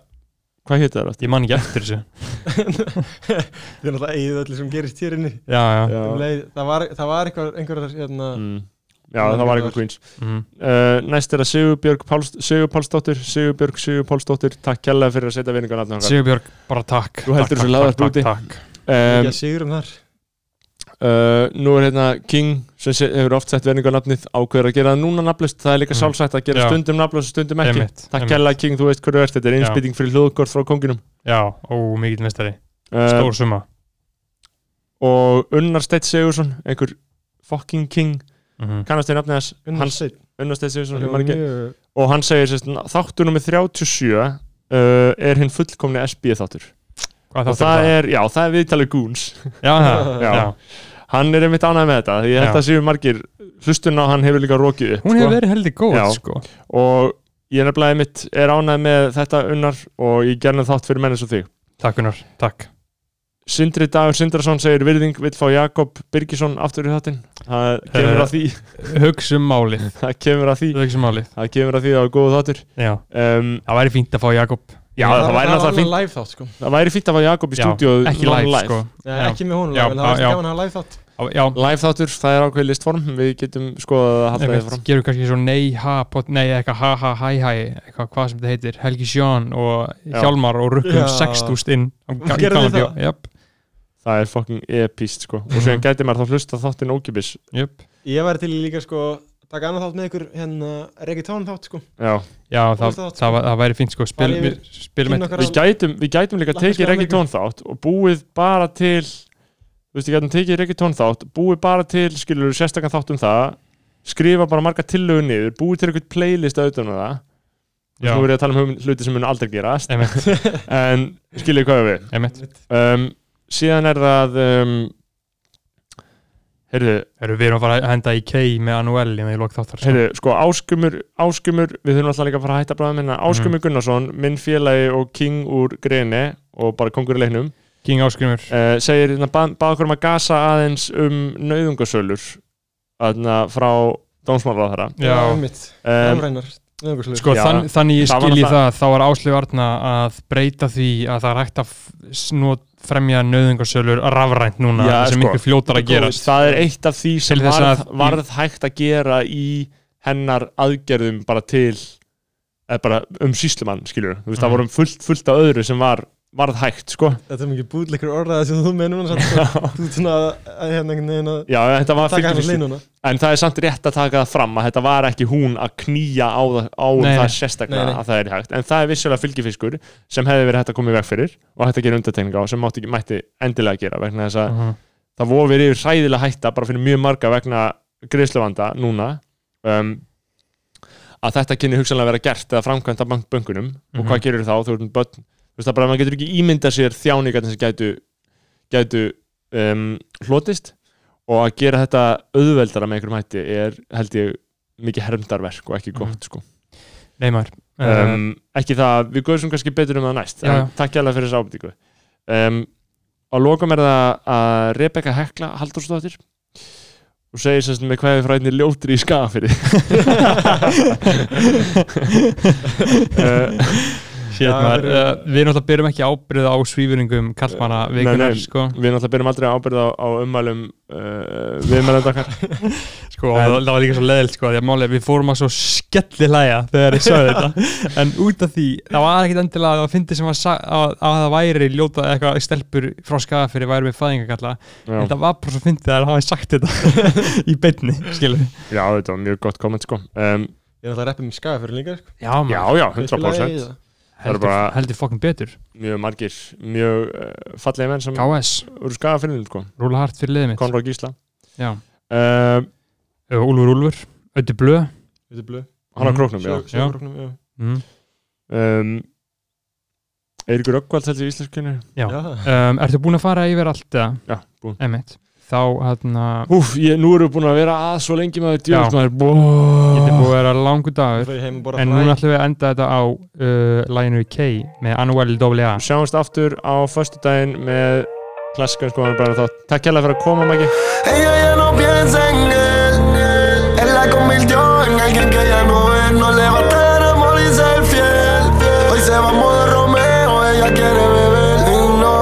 S1: hvað heitir það?
S2: ég man ekki eftir þessu
S3: það er náttúrulega eigið öllu sem gerist hér inni
S2: já, já,
S1: Já.
S3: Um leið- það var, það var einhver, einhverjar hérna,
S1: Mm. Já, það var eitthvað Queens
S2: Mhm.
S1: uh, Næst er að Sigurbjörg Páls, Sigur Pálsdóttir Sigurbjörg Sigur Pálsdóttir Takk kærlega fyrir að setja vinningarnafni okkar
S2: Sigurbjörg, bara takk
S1: Þú heldur
S2: Takk,
S1: þessu
S2: takk,
S1: laðar
S2: takk,
S1: úti.
S2: takk,
S3: ekki
S1: um,
S3: að sigur um þar
S1: uh, Nú er hérna King sem se- hefur oft sett vinningarnafnið ákveður að gera það núna nafnlust Það er líka
S2: Mm.
S1: sálsætt að gera
S2: Já.
S1: stundum nafnlust og stundum ekki
S2: Einmitt,
S1: Takk
S2: einmitt.
S1: kærlega King, þú veist hverju ert Þetta er
S2: Já.
S1: einspýting fyrir hljóðkort frá konginum
S2: já, ó, mikill mestari
S1: uh,
S2: stór suma
S1: Og Unnar Steitt Sigursson einhver fucking King
S2: Mhm.
S1: kannast við nafnið hans
S3: Gunnar
S1: Hans-
S3: Steinn.
S1: Unnar Steitt Sigursson
S3: Það
S1: ég
S3: var
S1: man ekki-
S3: mjög-
S1: og hann segir sérst, þáttur nummer 37 uh, er hinn fullkomni SB þáttur
S2: Hvað
S1: og
S2: þáttur
S1: það er, já, það er viðtalið Goons
S2: Já, það,
S1: Já.
S2: já.
S1: hann er einmitt ánægð með þetta því ég held
S2: Já.
S1: að séu margir hlustun á hann hefur líka rokið upp
S2: Hún hefur
S1: sko.
S2: verið heldig góð,
S1: Já.
S2: sko
S1: og ég nefnilega einmitt er ánægð með þetta unnar og ég gerna þátt fyrir menn eins og þig
S2: Takk, Gunnar, takk
S1: Sindri Dagur Sindrason segir virðing vill fá Jakob Birgisson aftur í þáttinn það kemur
S2: Eh.
S1: að því
S2: Hugsum málið,
S1: það kemur að því
S2: hugsum málið
S1: það kemur að því að það er góð þáttur
S2: Já,
S1: um,
S2: það væri fínt að fá Jakob
S1: já,
S2: Það
S1: það,
S3: var-
S1: væri
S3: var
S1: náttúrulega
S3: alveg
S1: fínt
S3: live þátt sko
S1: það væri fínt að fá Jakob í
S2: Já,
S1: stúdíu
S2: Ekki
S1: long
S2: live, sko
S3: Nei,
S2: Já.
S3: ekki með honum
S2: Já,
S3: live, en það
S2: já.
S3: var ekki gaman að hafa live þátt
S2: Á- Já,
S1: Live þáttur, það er ákveðið listform Við getum skoðað að halda það
S2: einmitt,
S1: fram
S2: gerum kannski svo nei, ha, pot, nei, eitthvað ha, ha, hæ, hæ eitthvað, hvað sem þetta heitir, Helgi Sjón og
S1: Já.
S2: Hjálmar og rukkum
S3: Já.
S2: 6.000 inn á ga- í
S3: Gerðu þið
S2: Galabjó. Jöp,
S1: Það er fucking epíst sko Og svo
S2: Mhm.
S1: gæti maður þá hlusta þáttin ókipis
S2: jöp
S3: Ég væri til í líka sko taka annað þátt með ykkur hérna reggaetón þátt sko
S1: Já,
S2: Já, það,
S3: Fórstu þátt, sko.
S2: það, var- það væri fínt, sko Spil,
S3: Farið
S2: við, spilum
S3: Kynna
S2: eitt
S3: okkar
S1: við gætum, við gætum líka
S3: Lakka
S1: tekið
S3: skjálfa
S1: reggi tónþátt Og búið bara til Þú veist, við gætum tekið reggi tónþátt Búið bara til, skilur sérstakann þátt um það Skrifa bara marga tillögur niður Búið til eitthvað playlist auðvitað um það
S2: Já.
S1: Já. Nú er ég að tala um hugmynd- hluti sem mun aldrei gerast
S2: Einmitt,
S1: En skiljið hvað við
S2: einmitt
S1: um, Síðan er það um, Heyrðu,
S2: Heyrðu, Við erum að fara að henda í K með Anuel í lók þáttar sko.
S1: Heyrðu, sko, áskumur, áskumur, við þurfum alltaf líka að fara að hætta bráðum hérna,
S2: Mhm.
S1: áskumur Gunnarsson, minn félagi og king úr greini og bara kongur í leiknum,
S2: King Áskrimur
S1: uh, segir, hérna, bað bað okkur um að gasa aðeins um nauðungasölur, þarna, frá dómsmálaða þara.
S2: Já.
S3: mitt
S1: Um,
S3: Ránrænar Nauðungarslugur
S2: Sko
S1: Já.
S2: þann, þannig ég
S1: Það var
S2: skilji
S1: náttúrulega-
S2: það, þá var Áslið Arna að breyta því að það er hægt að f- snot fremja nöðungarsölur rafrænt núna
S1: Já,
S2: sem
S1: sko.
S2: miklu fljótar að gera
S1: það er eitt af því sem
S2: Til þess
S1: varð,
S2: að-
S1: varð hægt að gera í hennar aðgerðum bara til, eða bara um síslumann, skilur, þú veist,
S2: Mhm.
S1: það vorum fullt, fullt af öðru sem var, varð hægt, sko.
S3: Þetta er mikið búðleikur orðaða sem þú með núna samt sko. Þú ert svona að, að hérna einhvern veginn að
S1: Já, þetta var
S3: taka
S1: 50-50.
S3: hérna leið núna
S1: En það er samt rétt að taka það fram að þetta var ekki hún að knýja á, það- á um
S2: Nei,
S1: það
S2: nei.
S1: sérstaklega
S3: Nei, nei.
S1: að það er hægt en það er vissulega fylgifiskur sem hefði verið hægt að koma í veg fyrir og hægt að gera undartekninga og sem mátti, mætti endilega gera vegna þess að
S2: Mhm.
S1: það voru verið yfir hræðilega hætta bara fyrir mjög marga vegna greiðsluvanda núna um, að þetta kynni hugsanlega að vera gert eða framkvæmt af bank- bönkunum og
S2: Mhm.
S1: hvað gerur þá þú ert með börn þú veist það bara að maður getur ekki ímyndað sér þjáningarnir sem gætu, gætu um, hlotist og að gera þetta auðveldara með einhverjum hætti er held ég mikið hermdarverk og ekki gott sko.
S2: Nei maður um,
S1: um, ekki það, að við góðsum kannski betur um það næst
S2: Já, já.
S1: en takk hérlega fyrir þessu ábyggingu um, og lokum er það að Rebecca Hekla Halldórsdóttir og segir semst með hvað við fræðinni ljótri í skafiri uh,
S2: Shit, maður,
S3: Já,
S2: uh, Við náttúrulega byrjum ekki ábyrð á svífuringum kallmanna
S1: Nei,
S2: vikunar
S1: nei.
S2: sko.
S1: við náttúrulega byrjum aldrei ábyrð á, á ummælum uh, viðmælanda okkar
S2: Sko, og það var líka svo leðilt sko, því að máli, við fórum að svo skelli hlæja þegar ég sagði þetta en út af því, það var ekkit endilega að það fyndi sem að, sa- að, að það væri ljóta eitthvað stelpur frá skafa fyrir væri með fæðingakalla
S1: Já.
S2: en það var bara svo fyndið að það hafi sagt þetta í beinni, skilur við
S1: Já, þetta var mjög gott komment sko um,
S3: Ég er alltaf að reppa mig skaga fyrir líka sko.
S2: Já,
S1: Já,
S2: maður,
S1: já,
S3: Fylgfélagi í
S1: 100%
S3: það.
S1: það er bara-
S2: heldur, heldur fokkin betur
S1: Mjög margir, mjög uh, fallegi menn sem
S2: KS,
S1: eru skafa fyrir sko.
S2: rúla hart fyrir liðið mitt
S1: Konráð Gísla
S2: Já,
S1: uh,
S2: Ö, Úlfur Úlfur, Öddi Blö
S3: Þetta er blöð
S1: Hann á
S2: Mhm.
S1: króknum, já
S3: Sjö- sjókróknum, já.
S2: mm.
S1: um, Eiríkur Öggvald heldur í íslenskinu
S2: Já.
S3: Já.
S2: um, Ertu búin að fara yfir allt það?
S1: Já, búin
S2: Einmitt, þá hérna
S1: Úf, ég, nú erum við búin að vera að svo lengi maður
S2: Já.
S1: djóðt maður
S2: Þetta er
S1: bó-
S2: búið að vera langur
S3: Ég
S2: dagur
S3: fer heim og borða
S2: En
S3: fræ.
S2: núna ætlum við að enda þetta á uh, læginu K með Anuel AA
S1: Sjáumst aftur á föstudaginn með klassikan skoðan bara þátt Takk hérlega fyrir að koma, Maggi
S5: Ella ya no piensa en él. Él la convirtió en alguien que ya no es. No le va a estar amor y ser fiel. Hoy se va a modo Romeo, ella quiere beber. Y no,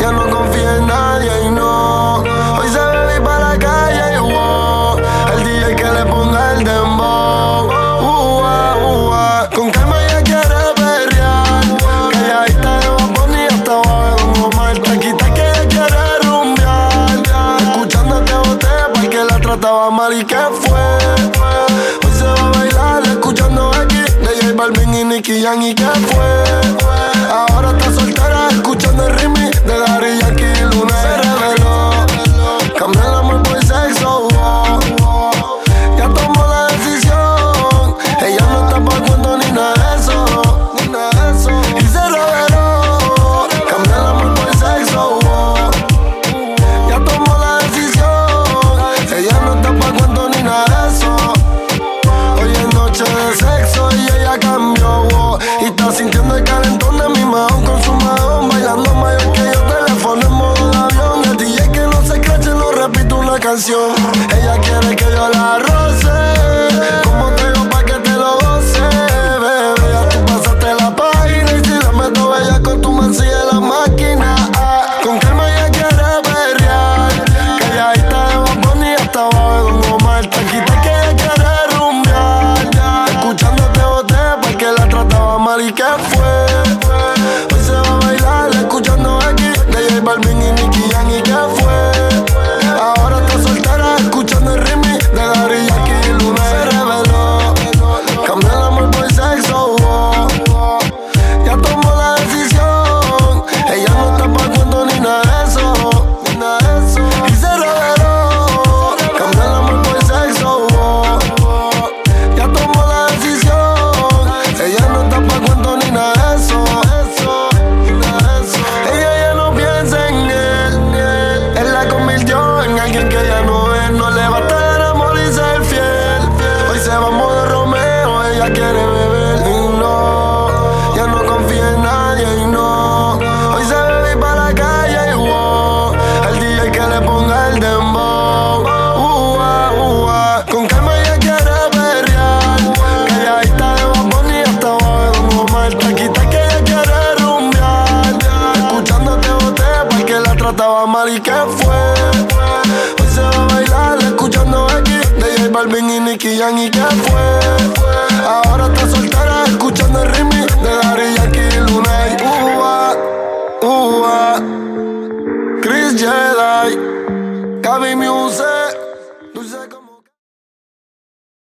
S5: ya no confía en nadie. Y no, hoy se bebe para la calle. Y wow, el DJ que le ponga el dembow. Uh, uh, uh, uh. Con calma ella quiere perrear. Calladita de Bad Bunny hasta abajo de Don Omar. Tranquita que ella quiere rumbear. Escuchándote botea porque la trataba mal y que fue. Hoy se va a bailar escuchando aquí de J Balvin y Nicky Jan y que fue. Ahora está soltera escuchando el ritmo de Daddy Yankee y Luna. Se reveló. Cambió el amor por sexo. oh, oh. Ya tomó la decisión. Ella no está pa' cuento ni nada de eso. Ni nada de eso. Y se reveló. Cambió el amor por sexo. oh. Ya tomó la decisión. Ella no está pa' cuento ni nada de eso. Hoy es noche de sexo y ella cambió. wow. Y está sintiendo el calentón de mi mahón con su mahón. Bailando mayor que yo, teléfono en modo de avión. Y el DJ que no se crache, no repito una canción. Ella quiere que yo la roce. Como tengo pa' que te lo goce, bebé. Ya tú pasaste la página y si la meto bella con tu me sigue la máquina. ah. Con calma ella quiere perrear. Calladita de Bad Bunny hasta abajo de Don Omar. Tranquita que ella quiere rumbear. Escuchándote boté este porque la trataba mal y que fue. Hoy se va a bailar escuchando aquí de J Balvin y Nicky Jan y que fue. Ahora está soltera escuchando el ritmo de Daddy Yankee y Luna. Se reveló. Cambió el amor por sexo. oh, oh. Ya tomó la decisión. Ella no está pa' cuento ni nada de eso. ni nada de eso. Y se reveló. Cambió el amor por sexo. oh, oh. Ya tomó la decisión. Ella no está pa' cuento ni nada de eso. eso, ni nada de eso. Ella ya no piensa en él. Él la convirtió en alguien que ya no es. No le va a estar amor y ser fiel. Hoy se va a modo Romeo, ella quiere beber. Y no, ya no confía en nadie. Y no, hoy se bebe y para la calle. Y wow, al DJ que le ponga el dembow. Uh, uh, uh, uh. Con calma ella quiere perrear. Calladita de Bad Bunny hasta abajo de Don Omar. Tranquita que ella quiere rumbear. Escuchándote boté porque la trataba mal y que fue. Hoy se va a bailar escuchando aquí de J Balvin y Nicky Jan y que fue.